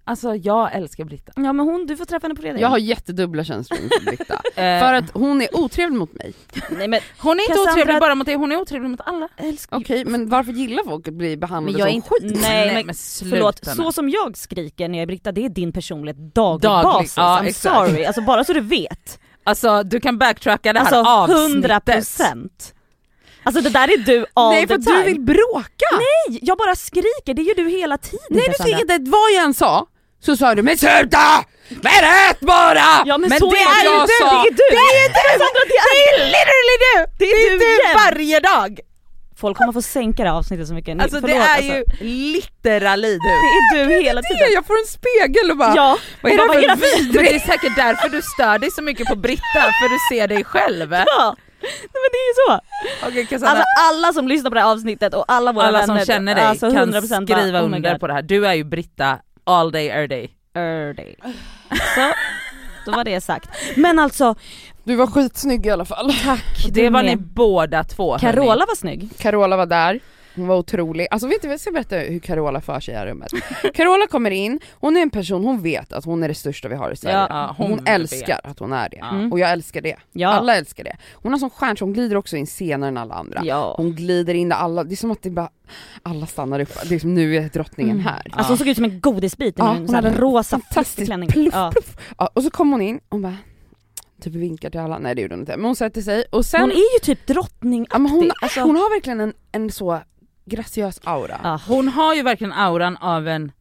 Speaker 2: Alltså jag älskar Britta.
Speaker 1: Ja men hon, du får träffa henne på fredag.
Speaker 3: Jag har jättedubbla känslor inför Britta.
Speaker 2: Eh,
Speaker 3: För att hon är otrevlig mot mig.
Speaker 1: Nej men
Speaker 2: hon är inte
Speaker 1: Cassandra-
Speaker 2: otrevlig bara mot dig, hon är otrevlig mot alla.
Speaker 1: älskling.
Speaker 3: Okej men varför gillar folk att bli behandlade
Speaker 1: Men jag är
Speaker 3: som
Speaker 1: inte-
Speaker 3: skit?
Speaker 1: Nej, men
Speaker 2: sluta
Speaker 1: Förlåt,
Speaker 2: nu.
Speaker 1: så som jag skriker när jag är Britta, det är din personlighet daglig basis.
Speaker 2: ja,
Speaker 1: I'm
Speaker 2: exakt.
Speaker 1: sorry, alltså bara så du vet.
Speaker 2: Alltså du kan backtracka det här
Speaker 1: Alltså
Speaker 2: avsnittet.
Speaker 1: 100 procent. Alltså det där är du all
Speaker 3: Nej
Speaker 1: the
Speaker 3: för
Speaker 1: time.
Speaker 3: du vill bråka!
Speaker 1: Nej, jag bara skriker, det gör du hela tiden
Speaker 3: Nej du
Speaker 1: Cassandra.
Speaker 3: tycker inte att vad jag än sa så sa du men sluta! Men ät bara!
Speaker 1: Ja men,
Speaker 2: Men
Speaker 1: så
Speaker 2: det
Speaker 1: är
Speaker 2: är
Speaker 1: ju
Speaker 2: jag
Speaker 1: du,
Speaker 2: sa-
Speaker 1: det är du! Det är ju du! Cassandra, det är
Speaker 2: literally du!
Speaker 1: Det är du igen.
Speaker 2: varje dag!
Speaker 1: Folk kommer få sänka det här avsnittet så mycket. Ni-
Speaker 2: Alltså
Speaker 1: förlåt,
Speaker 2: det är
Speaker 1: alltså.
Speaker 2: ju literally
Speaker 1: Det
Speaker 2: du.
Speaker 1: är du hela tiden.
Speaker 3: Jag får en spegel och bara
Speaker 1: Ja,
Speaker 3: vad är
Speaker 1: Vad är
Speaker 3: det
Speaker 1: det
Speaker 3: här
Speaker 1: för
Speaker 3: för
Speaker 2: Men det är
Speaker 3: vidrigt?
Speaker 2: säkert därför du stör dig så mycket på Britta, för du ser dig själv.
Speaker 1: ja. Nej men det är ju så.
Speaker 2: Okej Cassandra,
Speaker 1: Alltså alla som lyssnar på det här avsnittet och alla våra
Speaker 2: alla
Speaker 1: vänner.
Speaker 2: som känner dig
Speaker 1: alltså,
Speaker 2: kan
Speaker 1: 100% bara,
Speaker 2: skriva
Speaker 1: oh my
Speaker 2: under
Speaker 1: God.
Speaker 2: på det här. Du är ju Britta all day every day.
Speaker 1: Erday. Så, då var det sagt. Men alltså,
Speaker 3: Du var skitsnygg i alla fall.
Speaker 1: tack
Speaker 2: Det
Speaker 1: du
Speaker 2: var ni
Speaker 1: med.
Speaker 2: båda två hörni.
Speaker 1: Carola var snygg.
Speaker 3: Carola var där, hon var otrolig. Alltså vet du vad, jag ska berätta hur Carola för sig i det här rummet. Carola kommer in, hon är en person, hon vet att hon är det största vi har i Sverige.
Speaker 2: Ja, ja,
Speaker 3: hon
Speaker 2: hon
Speaker 3: älskar att hon är det.
Speaker 2: Mm.
Speaker 3: Och jag älskar det.
Speaker 1: Ja.
Speaker 3: Alla älskar det. Hon har sån stjärn så hon glider också in senare än alla andra.
Speaker 1: Ja.
Speaker 3: Hon glider in där alla, det är som att det bara, alla stannar upp, det är som nu är drottningen här.
Speaker 1: Alltså hon såg ut som en godisbit i
Speaker 3: Ja,
Speaker 1: min så här rosa
Speaker 3: fantastisk
Speaker 1: klänning.
Speaker 3: pluff,
Speaker 1: Ja.
Speaker 3: pluff. Ja, och så kom hon in och bara typ vinkar till alla, nej det gjorde hon inte, men hon sätter sig och sen,
Speaker 1: Hon är ju typ drottning.
Speaker 3: ja, men hon,
Speaker 1: alltså-
Speaker 3: hon har verkligen en, en så graciös aura.
Speaker 1: Ja.
Speaker 2: Hon har ju verkligen auran av en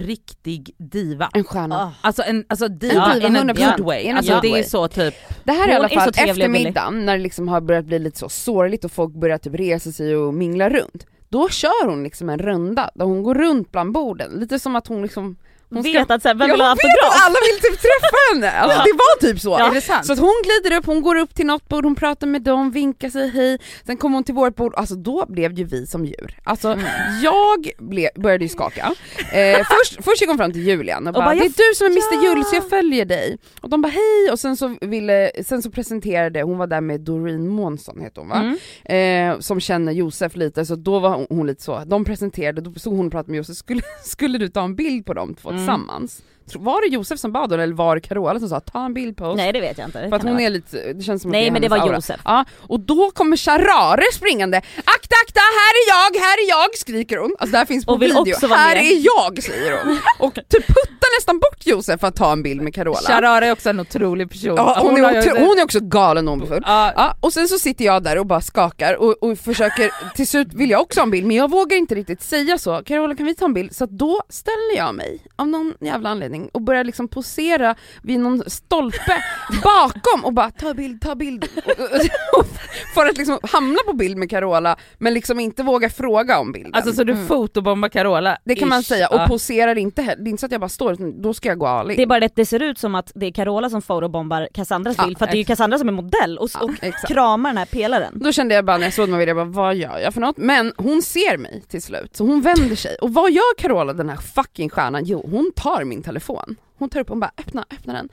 Speaker 2: riktig diva.
Speaker 3: En stjärna.
Speaker 1: Ah.
Speaker 2: Alltså en alltså diva
Speaker 3: diva,
Speaker 2: in a
Speaker 3: 100%.
Speaker 2: good way.
Speaker 3: In a
Speaker 2: Alltså
Speaker 1: good
Speaker 2: det
Speaker 1: way.
Speaker 2: är så typ,
Speaker 3: Det här är i
Speaker 1: Hon
Speaker 3: alla
Speaker 1: är så
Speaker 3: fall
Speaker 1: trevlig och billig.
Speaker 3: eftermiddagen när det liksom har börjat bli lite så sorgligt och folk börjar typ resa sig och mingla runt. Då kör hon liksom en runda där hon går runt bland borden, lite som att hon liksom hon ska-
Speaker 1: Vet att såhär, vem
Speaker 3: Ja,
Speaker 1: vill ha
Speaker 3: hon vet
Speaker 1: autograf?
Speaker 3: att alla vill typ träffa henne! Alltså, det var typ så.
Speaker 2: är det sant?
Speaker 3: Så att hon glider upp, hon går upp till något bord, hon pratar med dem, vinkar sig hej, sen kommer hon till vårt bord, alltså då blev ju vi som djur. Alltså
Speaker 1: Mm.
Speaker 3: jag ble, började ju skaka. Eh, först, först jag kom fram till Julian och bara,
Speaker 1: bara,
Speaker 3: det
Speaker 1: jag-
Speaker 3: är du som är Mr
Speaker 1: ja."
Speaker 3: Jul så jag följer dig. Och de bara hej och sen så, ville, sen så presenterade, hon var där med Doreen Månsson heter hon va?
Speaker 1: Mm.
Speaker 3: eh, som känner Josef lite, så då var hon, hon lite så, de presenterade, då stod hon och pratade med Josef, skulle, skulle du ta en bild på dem två
Speaker 1: Mm.
Speaker 3: tillsammans? tro- Var det Josef som bad då, eller var det Carola som sa ta en bild på oss?
Speaker 1: Nej det vet jag inte. Det
Speaker 3: För att
Speaker 1: kan
Speaker 3: hon
Speaker 1: det
Speaker 3: är lite, det känns som
Speaker 1: vara.
Speaker 3: att
Speaker 1: Nej
Speaker 3: är
Speaker 1: men det
Speaker 3: hennes
Speaker 1: var
Speaker 3: aura.
Speaker 1: Josef.
Speaker 3: Ja, och då kommer Charare springande. Akta, akta, här är jag, här är jag skriker hon. Alltså det här finns på
Speaker 1: Och vill
Speaker 3: video.
Speaker 1: också vara
Speaker 3: Här
Speaker 1: med.
Speaker 3: är jag säger hon. Och typ puttar nästan bort Josef för att ta en bild med Carola.
Speaker 2: Charar är också en otrolig person.
Speaker 3: Ja, hon,
Speaker 2: har ju-
Speaker 3: är otro, hon är också galen när hon blir full.
Speaker 2: Ja,
Speaker 3: Ja, och sen så sitter jag där och bara skakar och, och försöker, till slut vill jag också ha en bild men jag vågar inte riktigt säga så, Carola kan vi ta en bild? Så att då ställer jag mig av någon jävla anledning och börjar liksom posera vid någon stolpe bakom och bara ta bild, ta bild. Och, och, och, för att liksom hamna på bild med Carola men liksom inte våga fråga om bilden.
Speaker 2: Alltså så du fotobombar Carola?
Speaker 3: Mm. det kan man
Speaker 2: Ish.
Speaker 3: säga, och
Speaker 2: Ja.
Speaker 3: poserar inte heller, det är inte så att jag bara står utan då ska jag gå all in.
Speaker 1: Det är bara det att det ser ut som att det är Carola som får och bombar Cassandras
Speaker 3: Ja,
Speaker 1: bild för att det är ju Cassandra som är modell och, och
Speaker 3: Ja, exakt.
Speaker 1: kramar den här pelaren.
Speaker 3: Då kände jag bara när jag såg Maria, jag bara, vad gör jag för något? Men hon ser mig till slut, så hon vänder sig. Och vad gör Carola den här fucking stjärnan? Jo, hon tar min telefon. Hon tar upp hon bara öppna, öppna den.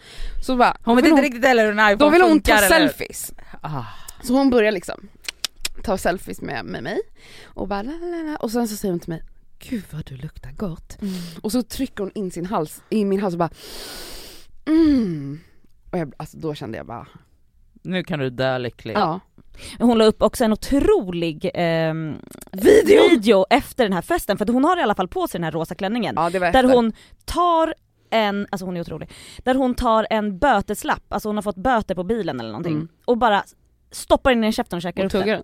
Speaker 3: Så bara,
Speaker 2: Hon vet
Speaker 3: vill
Speaker 2: inte riktigt heller hur en iPhone
Speaker 3: då vill hon ta
Speaker 2: funkar, eller?
Speaker 3: selfies.
Speaker 2: Ah.
Speaker 3: Så hon börjar liksom ta selfies med, med mig och bara la, la, la, och sen så säger hon till mig Gud vad du luktar gott.
Speaker 2: Mm.
Speaker 3: Och så trycker hon in sin hals, i min hals och bara mm. Och jag, alltså då kände jag bara,
Speaker 2: Nu kan du dö lycklig.
Speaker 3: ja.
Speaker 1: Hon la upp också en otrolig ehm,
Speaker 3: Video!
Speaker 1: video efter den här festen för att hon har i alla fall på sig den här rosa klänningen.
Speaker 3: ja det var
Speaker 1: Där
Speaker 3: efter.
Speaker 1: hon tar en, alltså hon är otrolig, där hon tar en böteslapp, alltså hon har fått böter på bilen eller någonting
Speaker 3: Mm.
Speaker 1: och bara stoppar in den i käften och käkar
Speaker 3: Hon
Speaker 1: upp den.
Speaker 3: tuggar den.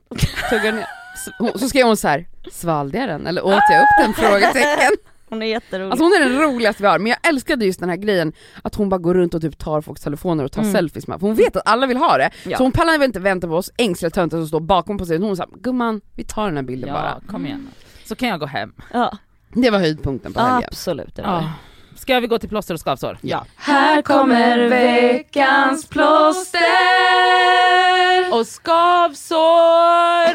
Speaker 3: Tuggar ner. Så- hon- Så skrev hon så här, svalde jag den eller åt jag upp den? Frågetecken.
Speaker 1: Hon är jätterolig.
Speaker 3: Alltså hon är den roligaste vi har, men jag älskade just den här grejen att hon bara går runt och typ tar folks telefoner och tar
Speaker 1: Mm.
Speaker 3: selfies med för hon vet att alla vill ha det.
Speaker 1: Ja.
Speaker 3: Så hon pallar inte vänta på oss ängsliga töntar som står bakom på sig, hon sa gumman vi tar den här bilden bara.
Speaker 2: Ja, kom igen. Så kan jag gå hem.
Speaker 1: ja,
Speaker 3: Det var höjdpunkten på helgen.
Speaker 1: absolut. Det var det.
Speaker 2: Ah. Ska vi gå till plåster och skavsår?
Speaker 3: Ja.
Speaker 6: Här kommer veckans plåster.
Speaker 2: Och skavsår!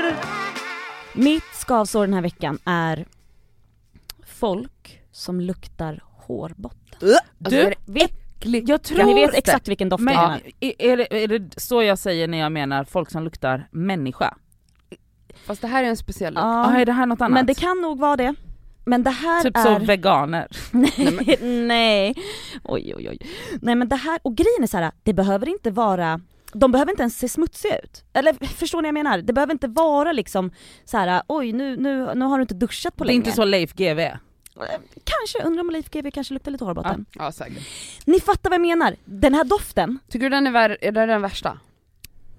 Speaker 3: Alltså,
Speaker 1: Mitt skavsår den här veckan är folk som luktar hårbotten.
Speaker 3: Alltså, är det-
Speaker 1: Vet,
Speaker 2: jag tror
Speaker 1: ni vet exakt vilken doft
Speaker 2: men,
Speaker 1: jag menar.
Speaker 2: är, är, det, är det så jag säger när jag menar folk som luktar människa?
Speaker 3: Fast det här är en speciell look.
Speaker 1: Ja,
Speaker 2: Ah, är det här något annat?
Speaker 1: men det kan nog vara det. Men det här
Speaker 2: typ
Speaker 1: är...
Speaker 2: så veganer.
Speaker 1: Nej, nej. Oj oj oj. Nej men det här, och grejen är så här, det behöver inte vara, de behöver inte ens se smutsiga ut. Eller förstår ni vad jag menar? Det behöver inte vara liksom så här, oj nu, nu, nu har du inte duschat på
Speaker 2: Det är
Speaker 1: länge. Eh,
Speaker 2: inte så Leif GW.
Speaker 1: Kanske, undrar om Leif GW kanske luktar lite hårbotten.
Speaker 3: Ja säkert.
Speaker 1: Ni fattar vad jag menar, den här doften,
Speaker 3: Tycker du den är, vär- är det den värsta?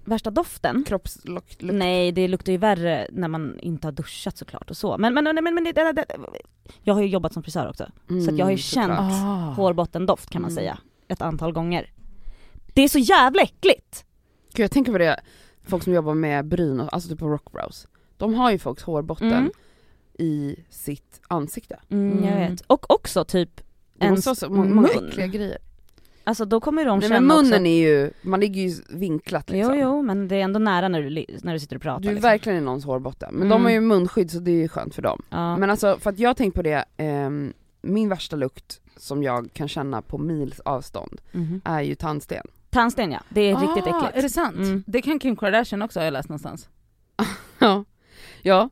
Speaker 1: värsta doften.
Speaker 3: Kroppslukt? lukt?
Speaker 1: Nej det luktar ju värre när man inte har duschat såklart och så. Men, men, men, men, men det, det, det, jag har ju jobbat som frisör också. så att jag har ju
Speaker 3: Mm, såklart.
Speaker 1: känt
Speaker 2: Ah.
Speaker 1: hårbottendoft kan man
Speaker 3: Mm.
Speaker 1: säga ett antal gånger. Det är så jävla äckligt!
Speaker 3: Gud jag tänker på det, folk som jobbar med bryn, och- alltså typ på rockbrows. De har ju folks hårbotten
Speaker 1: Mm.
Speaker 3: i sitt ansikte.
Speaker 1: Jag vet. Mm. Och också typ,
Speaker 3: De
Speaker 1: Ens
Speaker 3: måste ha så må- många
Speaker 1: mun.
Speaker 3: äckliga grejer.
Speaker 1: alltså då kommer ju de
Speaker 3: Nej,
Speaker 1: känna
Speaker 3: men munnen
Speaker 1: också,
Speaker 3: är ju, man ligger ju vinklat liksom.
Speaker 1: Jo jo men det är ändå nära när du, li- när du sitter och pratar.
Speaker 3: Du är
Speaker 1: liksom.
Speaker 3: verkligen i någons hårbotten, men de
Speaker 1: Mm.
Speaker 3: har ju munskydd så det är ju skönt för dem.
Speaker 1: ja.
Speaker 3: Men alltså för att jag har tänkt på det, ehm, min värsta lukt som jag kan känna på mils avstånd
Speaker 1: Mhm.
Speaker 3: är ju tandsten.
Speaker 1: Tandsten ja, det
Speaker 3: Ah,
Speaker 1: är riktigt äckligt.
Speaker 2: Är det sant?
Speaker 1: Mm.
Speaker 2: Det kan Kim Kardashian också har jag läst någonstans.
Speaker 3: Ja, ja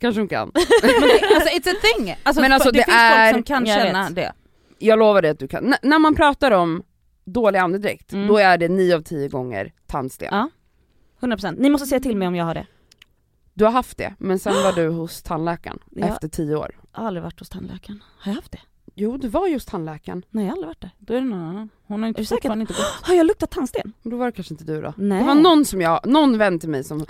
Speaker 3: kanske hon kan.
Speaker 2: Men det, alltså it's a thing! Alltså,
Speaker 3: Men alltså,
Speaker 2: det,
Speaker 3: det
Speaker 2: finns
Speaker 3: är-
Speaker 2: folk som kan
Speaker 1: Jag
Speaker 2: känna
Speaker 1: vet.
Speaker 2: det.
Speaker 3: jag lovar dig att du kan. N- när man pratar om dålig andedräkt,
Speaker 1: Mm.
Speaker 3: då är det 9 av 10 gånger tandsten.
Speaker 1: Ja. 100%. Ni måste säga till mig om jag har det.
Speaker 3: Du har haft det, men sen var du hos tandläkaren
Speaker 1: Ja.
Speaker 3: efter 10 år.
Speaker 1: Jag har aldrig varit hos tandläkaren. Har jag haft det?
Speaker 3: Jo, du var just tandläkaren,
Speaker 1: Nej jag har aldrig varit där.
Speaker 2: Då är det någon annan. Hon har
Speaker 1: Är
Speaker 2: inte
Speaker 1: du säker?
Speaker 2: fortfarande inte gått.
Speaker 1: Har jag luktat tandsten?
Speaker 3: men då var det kanske inte du då.
Speaker 1: Nej.
Speaker 3: Det var någon som jag, någon vän till mig som,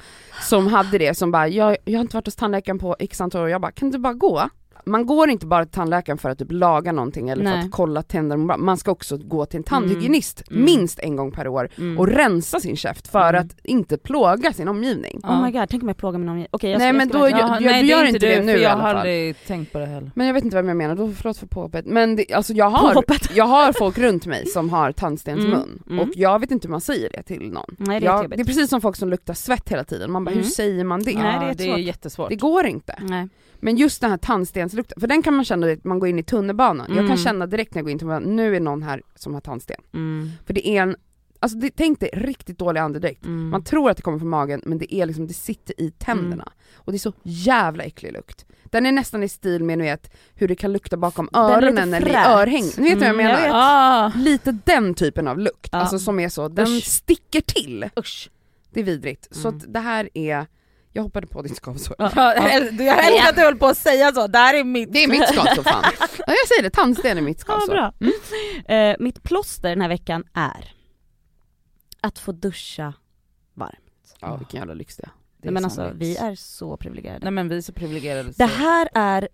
Speaker 3: som hade det som bara, jag, jag har inte varit hos tandläkaren på x antal år, jag bara, kan du bara gå? Man går inte bara till tandläkaren för att typ laga någonting eller för
Speaker 1: Nej.
Speaker 3: att kolla tänder, mår bra. man ska också gå till en tandhygienist
Speaker 1: Mm.
Speaker 3: minst en gång per år
Speaker 1: Mm.
Speaker 3: och rensa sin käft för
Speaker 1: Mm.
Speaker 3: att inte plåga sin omgivning.
Speaker 1: Oh my god, tänk om jag plågar min omgivning. Okej jag
Speaker 3: Nej,
Speaker 1: ska,
Speaker 3: men
Speaker 1: jag ska
Speaker 3: då-
Speaker 1: verkligen-
Speaker 3: jag- jag- du
Speaker 2: är
Speaker 3: gör inte det nu
Speaker 2: för
Speaker 3: i
Speaker 2: jag
Speaker 3: alla
Speaker 2: har
Speaker 3: fall.
Speaker 2: aldrig tänkt på det heller.
Speaker 3: Men jag vet inte vem jag menar, då förlåt för påhoppet. Men det, alltså jag har,
Speaker 1: Påhoppet.
Speaker 3: jag har folk runt mig som har tandstensmun
Speaker 1: Mm, mm.
Speaker 3: och jag vet inte hur man säger det till någon.
Speaker 1: Nej det är
Speaker 3: jag,
Speaker 1: jobbigt.
Speaker 3: det är precis som folk som luktar svett hela tiden, man bara
Speaker 1: Mm.
Speaker 3: hur säger man det?
Speaker 1: Nej, det är
Speaker 2: Ja, det är
Speaker 1: svårt. Mm.
Speaker 2: jättesvårt.
Speaker 3: Det går inte.
Speaker 1: Nej.
Speaker 3: Men just den här tandstenslukten, för den kan man känna när man går in i tunnelbanan. Jag
Speaker 1: Mm.
Speaker 3: kan känna direkt när jag går in i tunnelbanan, nu är någon här som har tandsten.
Speaker 1: Mm.
Speaker 3: För det är en, Alltså det, tänk dig riktigt dålig andedräkt.
Speaker 2: Mm.
Speaker 3: Man tror att det kommer från magen men det är liksom, det sitter i tänderna.
Speaker 1: Mm.
Speaker 3: Och det är så jävla äcklig lukt. Den är nästan i stil med ni vet, hur det kan lukta bakom
Speaker 1: Den är lite
Speaker 3: öronen eller i
Speaker 1: frät.
Speaker 3: örhäng. Ni vet vad jag
Speaker 1: Mm, jag
Speaker 3: menar?
Speaker 1: vet.
Speaker 2: Ah.
Speaker 3: Lite den typen av lukt,
Speaker 1: Ja.
Speaker 3: alltså som är så, den
Speaker 2: Usch.
Speaker 3: sticker till.
Speaker 1: Usch.
Speaker 3: Det är vidrigt. Så
Speaker 2: Mm.
Speaker 3: att det här är, jag hoppade på ditt skavsår.
Speaker 2: Ja, jag äl- jag älskar att du höll på att säga så, det här är mitt.
Speaker 3: Det är mitt skavsår fan. Ja, jag säger det, tandsten är mitt
Speaker 1: Ja,
Speaker 3: skavsår.
Speaker 1: bra. Alltså. Eh, mitt plåster den här veckan är att få duscha.
Speaker 3: Ja, vilken jävla lyx det är.
Speaker 2: Det är
Speaker 1: men
Speaker 2: sant.
Speaker 1: alltså vi är så privilegierade.
Speaker 2: Nej men vi är så privilegierade.
Speaker 1: Det
Speaker 2: så-
Speaker 1: här är,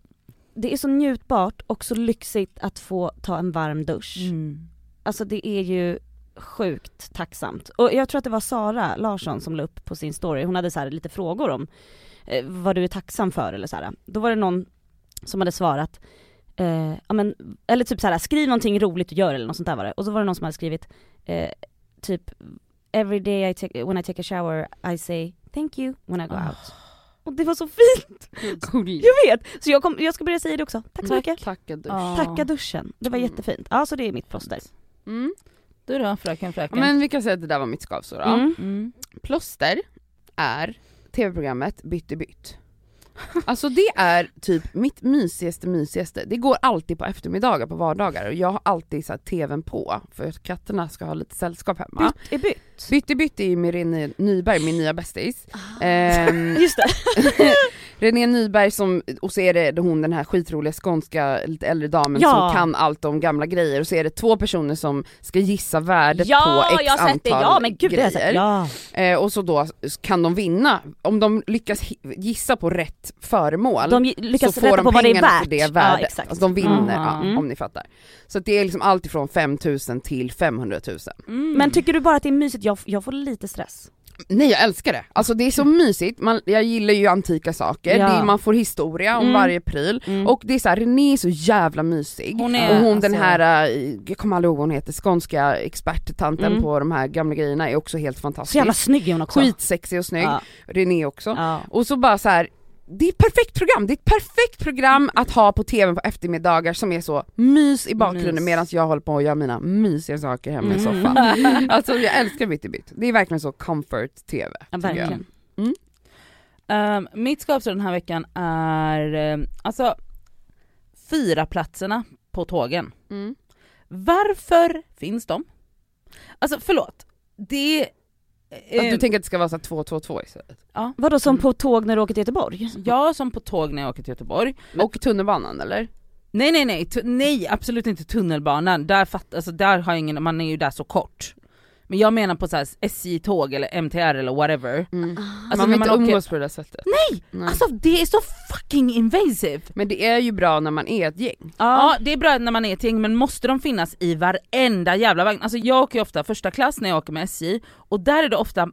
Speaker 1: det är så njutbart och så lyxigt att få ta en varm dusch.
Speaker 2: Mm.
Speaker 1: Alltså det är ju sjukt tacksamt. Och jag tror att det var Sara Larsson som la upp på sin story, hon hade så här lite frågor om eh, vad du är tacksam för eller så här. Då var det någon som hade svarat, eh, ja men, eller typ så här, skriv någonting roligt du gör eller något sånt där var det. Och så var det någon som hade skrivit eh, typ Every day I take, when I take a shower I say thank you when I go out. Och det var så fint!
Speaker 3: Gulligt.
Speaker 1: Jag vet! Så jag, kom, jag ska börja säga det också. Tack så mycket.
Speaker 3: Tacka dusch.
Speaker 2: Ja.
Speaker 1: Tacka duschen. Det var
Speaker 3: Mm.
Speaker 1: jättefint. Ja så det är mitt plåster.
Speaker 3: Mm.
Speaker 2: Du då fröken fröken?
Speaker 3: Men vi kan säga att det där var mitt skavsår då.
Speaker 1: Mm.
Speaker 2: Mm.
Speaker 3: Plåster är tv-programmet Bytt i bytt. Alltså det är typ mitt mysigaste mysigaste. Det går alltid på eftermiddagar på vardagar och jag har alltid så här tvn på för att katterna ska ha lite sällskap hemma.
Speaker 1: Bytt är bytt.
Speaker 3: Bytt i bytt är ju med René Nyberg, min nya bästis.
Speaker 1: Ah.
Speaker 3: Ehm,
Speaker 1: Just det.
Speaker 3: René Nyberg som, och så är det hon den här skitroliga skånska lite äldre damen
Speaker 1: Ja.
Speaker 3: som kan allt om gamla grejer och så är det två personer som ska gissa värdet på x
Speaker 1: jag har sett det.
Speaker 3: antal
Speaker 1: Ja men gud det har jag
Speaker 3: grejer.
Speaker 1: sett. Ja.
Speaker 3: Eh, och så då kan de vinna, om de lyckas hi- gissa på rätt föremål
Speaker 1: De gi- lyckas
Speaker 3: så
Speaker 1: rätta
Speaker 3: får
Speaker 1: på
Speaker 3: de
Speaker 1: vad det är
Speaker 3: pengarna
Speaker 1: värt.
Speaker 3: för det värdet.
Speaker 1: Ja, exakt.
Speaker 3: alltså de vinner,
Speaker 2: Aha.
Speaker 3: ja,
Speaker 1: Mm.
Speaker 3: om ni fattar. Så att det är liksom allt ifrån 5 000 till 500 000.
Speaker 2: Mm.
Speaker 1: Men tycker du bara att det är mysigt? Jag, jag får lite stress.
Speaker 3: Nej jag älskar det, alltså det är så mysigt, man, jag gillar ju antika saker,
Speaker 1: Ja.
Speaker 3: det är, man får historia om
Speaker 1: Mm.
Speaker 3: varje pryl
Speaker 1: Mm.
Speaker 3: och det är så här, René är så jävla mysig.
Speaker 2: Hon är,
Speaker 3: och hon
Speaker 2: alltså-
Speaker 3: den här, eh, jag kommer aldrig ihåg vad hon heter, skånska experttanten
Speaker 1: Mm.
Speaker 3: på de här gamla grejerna Alltså, är också helt
Speaker 1: Så jävla
Speaker 3: fantastisk.
Speaker 1: snygg är hon också.
Speaker 3: Skitsexig och snygg,
Speaker 1: Ja.
Speaker 3: René också.
Speaker 1: Ja.
Speaker 3: Och så bara så här. Det är ett perfekt program, det är ett perfekt program att ha på tvn på eftermiddagar som är så mys i bakgrunden
Speaker 2: Mys.
Speaker 3: medan jag håller på och gör mina mysiga saker hemma i
Speaker 1: Mm.
Speaker 3: soffan. Alltså jag älskar Bytt i bytt, det är verkligen så comfort tv.
Speaker 1: Ja, verkligen.
Speaker 2: Ehm, mitt skavsår den här veckan är ehm, alltså fyra platserna på tågen.
Speaker 3: Mm.
Speaker 2: Varför finns de? Alltså förlåt, det...
Speaker 3: Att
Speaker 2: eh,
Speaker 3: du tänker att det ska vara så här 222 istället?
Speaker 1: Vadå som
Speaker 3: Mm.
Speaker 1: på tåg när du åker till Göteborg?
Speaker 2: jag som på tåg när jag åker till Göteborg,
Speaker 3: Och tunnelbanan eller?
Speaker 2: nej nej nej, tu- nej absolut inte tunnelbanan, där, fatt, alltså, där har jag ingen, man är ju där så kort. Men jag menar på så här SJ-tåg eller MTR eller whatever. Alltså,
Speaker 3: man
Speaker 2: när
Speaker 3: vill inte
Speaker 2: åker-
Speaker 3: umgås på det där sättet. Nej!
Speaker 2: Alltså det är så fucking invasive!
Speaker 3: Men det är ju bra när man är ett gäng.
Speaker 2: Ja det är bra när man är ett gäng men måste de finnas i varenda jävla vagn? Alltså jag åker ju ofta första klass när jag åker med SJ och där är det ofta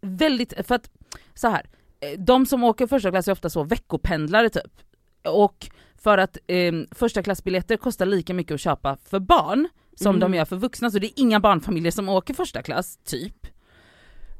Speaker 2: väldigt, för att så här, eh, de som åker första klass är ofta så veckopendlare typ. Och för att eh, första klassbiljetter kostar lika mycket att köpa för barn som
Speaker 1: Mm.
Speaker 2: de gör för vuxna så det är inga barnfamiljer som åker första klass, typ.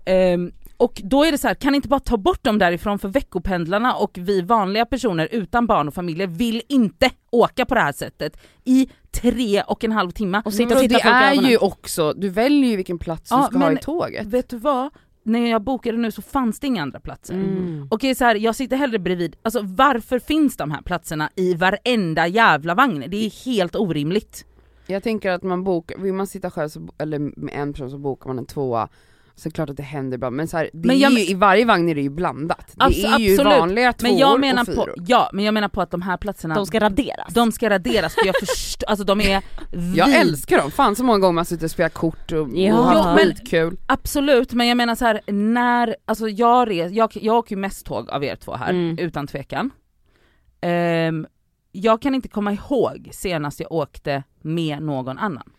Speaker 2: Ehm, och då är det så här, kan ni inte bara ta bort dem därifrån för veckopendlarna och vi vanliga personer utan barn och familjer vill inte åka på det här sättet i tre och en halv timme. Mm.
Speaker 1: Och
Speaker 3: Och
Speaker 1: sitta och titta
Speaker 3: Alltså, det
Speaker 1: folk i
Speaker 3: är
Speaker 1: ögonen.
Speaker 3: ju också, du väljer ju vilken plats
Speaker 2: Ja,
Speaker 3: du ska
Speaker 2: men-
Speaker 3: ha i tåget.
Speaker 2: Vet du vad? När jag bokade nu så fanns det inga andra platser.
Speaker 1: Mm.
Speaker 3: Mm.
Speaker 2: Och det är så här, jag sitter hellre bredvid, alltså varför finns de här platserna i varenda jävla vagn? Det är helt orimligt.
Speaker 3: Jag tänker att man bokar, vill man sitta själv så, bo- eller med en person så bokar man en tvåa, så är det klart att det händer ibland men, så här, det
Speaker 2: Men jag
Speaker 3: är
Speaker 2: men-
Speaker 3: ju, i varje vagn är det ju blandat. Det
Speaker 2: Abs-
Speaker 3: är ju
Speaker 2: absolut.
Speaker 3: vanliga tvåor
Speaker 2: Men jag menar
Speaker 3: och fyror.
Speaker 2: på, ja men jag menar på att de här platserna,
Speaker 1: De ska raderas.
Speaker 2: de ska raderas för jag förstår, alltså de är
Speaker 3: Jag
Speaker 2: vid-
Speaker 3: älskar dem, fan så många gånger man sitter och spelar kort och,
Speaker 1: Ja.
Speaker 3: och
Speaker 1: Jo,
Speaker 3: har
Speaker 2: men-
Speaker 3: haft kul.
Speaker 2: Absolut, men jag menar så här när, alltså jag, res, jag, jag åker ju mest tåg av er två här,
Speaker 1: Mm.
Speaker 2: utan tvekan. Ehm, jag kan inte komma ihåg senast jag åkte med någon annan.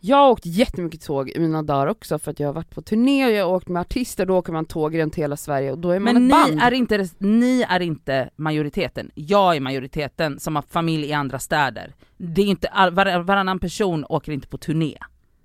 Speaker 3: Jag har åkt jättemycket tåg i mina dagar också för att jag har varit på turné och jag har åkt med artister, då åker man tåg runt hela Sverige och då är man
Speaker 2: Men
Speaker 3: ett
Speaker 2: ni
Speaker 3: band.
Speaker 2: är, inte, ni är inte majoriteten, jag är majoriteten som har familj i andra städer. Det är inte, all, var, varannan person åker inte på turné.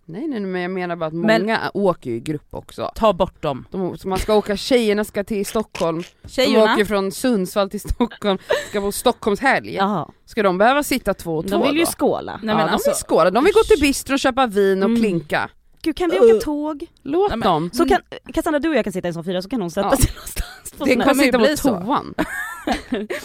Speaker 3: Nej nej men jag menar bara att
Speaker 2: Men-
Speaker 3: många åker ju i grupp också.
Speaker 2: Ta bort dem.
Speaker 3: De, så man ska åka, tjejerna ska till Stockholm, de
Speaker 2: Tjejerna,
Speaker 3: åker från Sundsvall till Stockholm, ska på Stockholmshelg.
Speaker 1: Jaha.
Speaker 3: Ska de behöva sitta två och två
Speaker 1: De vill ju
Speaker 3: då?
Speaker 1: skåla.
Speaker 2: nej men
Speaker 3: ja, de
Speaker 2: alltså,
Speaker 3: vill skåla, de vill gå till bistron och köpa vin och
Speaker 2: Mm.
Speaker 3: klinka.
Speaker 1: gud kan vi
Speaker 3: Uh.
Speaker 1: åka tåg?
Speaker 3: Låt
Speaker 2: Nej, men-
Speaker 3: dem.
Speaker 1: Så kan, Cassandra du och jag kan sitta i en sån fyra så kan hon sätta
Speaker 3: Mm. Ja.
Speaker 1: sig någonstans på
Speaker 3: Det
Speaker 1: sån här.
Speaker 3: kommer
Speaker 2: kommer ju
Speaker 3: sitta
Speaker 2: bli så.
Speaker 3: på toan.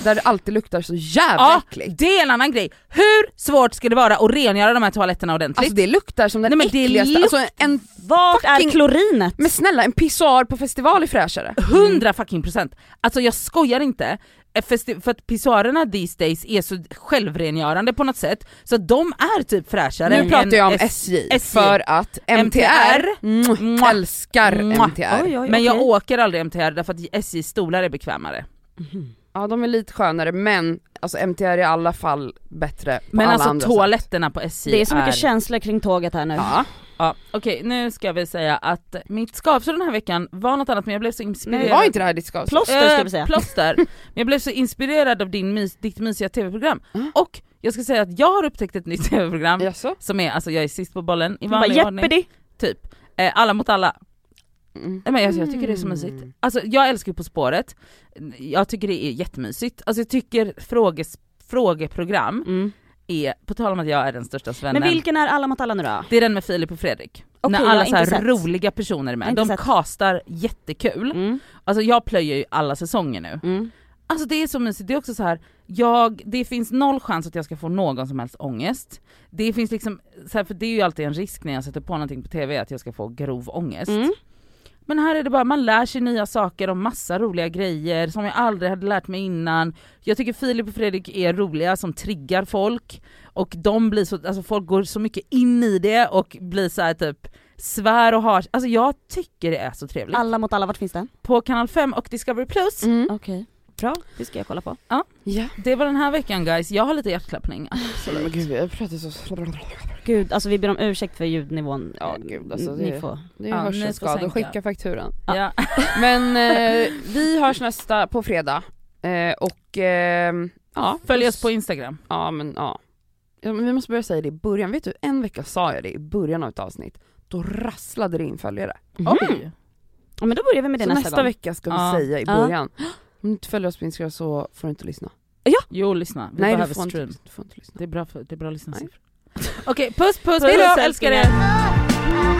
Speaker 3: Där det alltid luktar så jävla
Speaker 2: Ja,
Speaker 3: äckligt.
Speaker 2: det är en annan grej. Hur svårt ska det vara att rengöra de här toaletterna ordentligt?
Speaker 3: Alltså det luktar som den
Speaker 2: Nej, men det
Speaker 3: äckligaste,
Speaker 2: luk-
Speaker 3: alltså en, en,
Speaker 1: Vart
Speaker 3: fucking-
Speaker 1: är klorinet?
Speaker 3: men snälla en pissoar på festival är fräschare.
Speaker 2: Hundra fucking procent! Alltså jag skojar inte. Eh, festi- För att pissoarerna these days är så självrengörande på något sätt, så att de är typ fräschare
Speaker 3: Nu pratar jag om
Speaker 2: än
Speaker 3: SJ,
Speaker 2: SJ.
Speaker 3: för att MTR,
Speaker 2: MTR.
Speaker 3: mm,
Speaker 2: Mwah.
Speaker 3: älskar
Speaker 2: Mwah.
Speaker 3: MTR.
Speaker 1: Oj, oj,
Speaker 2: Men jag
Speaker 1: okej.
Speaker 2: åker aldrig MTR därför att SJs stolar är bekvämare.
Speaker 3: Ja de är lite skönare men alltså MTR är i alla fall bättre på
Speaker 2: Men
Speaker 3: alla
Speaker 2: alltså
Speaker 3: andra sätt.
Speaker 2: toaletterna på SJ
Speaker 1: Det är så mycket känslor kring tåget här nu.
Speaker 3: Ja.
Speaker 2: Ja, Okej nu ska vi säga att mitt skavsår den här veckan var något annat men jag blev så inspirerad.
Speaker 3: Var inte det här ditt skavsår?
Speaker 1: Plåster ska
Speaker 2: Eh,
Speaker 1: vi säga.
Speaker 2: Plåster. Men jag blev så inspirerad av din mys, ditt mysiga tv-program.
Speaker 3: Mm.
Speaker 1: Ah.
Speaker 2: Och jag ska säga att jag har upptäckt ett nytt tv-program
Speaker 3: Jaså?
Speaker 2: som är, alltså jag är sist på bollen i
Speaker 1: Hon bara
Speaker 2: vanlig ordning.
Speaker 1: Jeopardy!
Speaker 2: Typ. Eh, alla mot alla.
Speaker 3: Mm.
Speaker 2: Nej, men alltså, jag tycker det är så mysigt.
Speaker 1: Mm.
Speaker 2: Alltså jag älskar ju På spåret, jag tycker det är jättemysigt. Alltså jag tycker fråges, frågeprogram
Speaker 1: Mm.
Speaker 2: är, på tal om att jag är den största svennen,
Speaker 1: Men vilken är alla mot alla nu då?
Speaker 2: det är den med Filip och Fredrik.
Speaker 1: Okej,
Speaker 2: När
Speaker 1: jag
Speaker 2: alla
Speaker 1: har
Speaker 2: så här
Speaker 1: inte sett.
Speaker 2: roliga personer
Speaker 1: Jag har
Speaker 2: är med,
Speaker 1: inte
Speaker 2: de
Speaker 1: sett.
Speaker 2: castar jättekul.
Speaker 1: Mm.
Speaker 2: Alltså jag plöjer ju alla säsonger nu.
Speaker 1: Mm.
Speaker 2: Alltså det är så mysigt, det är också så här. Jag, det finns noll chans att jag ska få någon som helst ångest. Det finns liksom, så här, för det är ju alltid en risk när jag sätter på någonting på TV att jag ska få grov ångest.
Speaker 1: Mm.
Speaker 2: Men här är det bara, man lär sig nya saker om massa roliga grejer som jag aldrig hade lärt mig innan. Jag tycker Filip och Fredrik är roliga som triggar folk och de blir så, alltså folk går så mycket in i det och blir så här typ svär och har, alltså jag tycker det är så trevligt.
Speaker 1: Alla mot alla, vart finns den?
Speaker 2: På kanal 5 och Discovery Plus.
Speaker 3: Mm.
Speaker 1: Okej. Bra, det ska jag kolla på.
Speaker 3: Ja.
Speaker 2: Det var den här veckan guys, jag har lite hjärtklappning.
Speaker 3: Men gud jag pratar så...
Speaker 1: Gud, alltså vi ber om ursäkt för ljudnivån.
Speaker 3: Ja, gud, alltså, det-
Speaker 1: Ni får.
Speaker 3: Det är
Speaker 2: Ja, ni får
Speaker 3: hörselskador,
Speaker 2: sänka.
Speaker 3: skicka fakturan.
Speaker 1: Ja.
Speaker 2: Ja.
Speaker 3: Men eh, vi hörs nästa, på fredag. Eh, och eh, ja.
Speaker 2: Följ oss på Instagram.
Speaker 3: Ja men ja. ja men vi måste börja säga det i början, vet du en vecka sa jag det i början av ett avsnitt. Då rasslade det in följare.
Speaker 2: Oj!
Speaker 1: Ja, men då börjar vi med det
Speaker 3: Så
Speaker 1: nästa,
Speaker 3: nästa,
Speaker 1: gång.
Speaker 3: vecka ska vi
Speaker 2: Ja.
Speaker 3: säga i
Speaker 1: Ja.
Speaker 3: början. Om du inte följer oss på Instagram så får du inte lyssna.
Speaker 2: Jo lyssna, vi
Speaker 3: Nej du
Speaker 2: behöver
Speaker 3: får, inte,
Speaker 2: stream.
Speaker 3: du får inte lyssna.
Speaker 2: Det är bra, för, det är bra lyssnarsiffror.
Speaker 3: Okej puss puss,
Speaker 2: Hej då, älskar
Speaker 3: älskar
Speaker 2: er!
Speaker 3: er!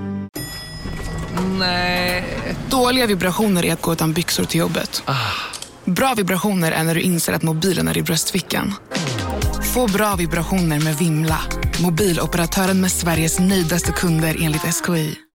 Speaker 7: Nej. Dåliga vibrationer är att gå utan byxor till jobbet. Bra vibrationer är när du inser att mobilen är i bröstfickan. Få bra vibrationer med Vimla. Mobiloperatören med Sveriges nöjdaste kunder enligt SKI.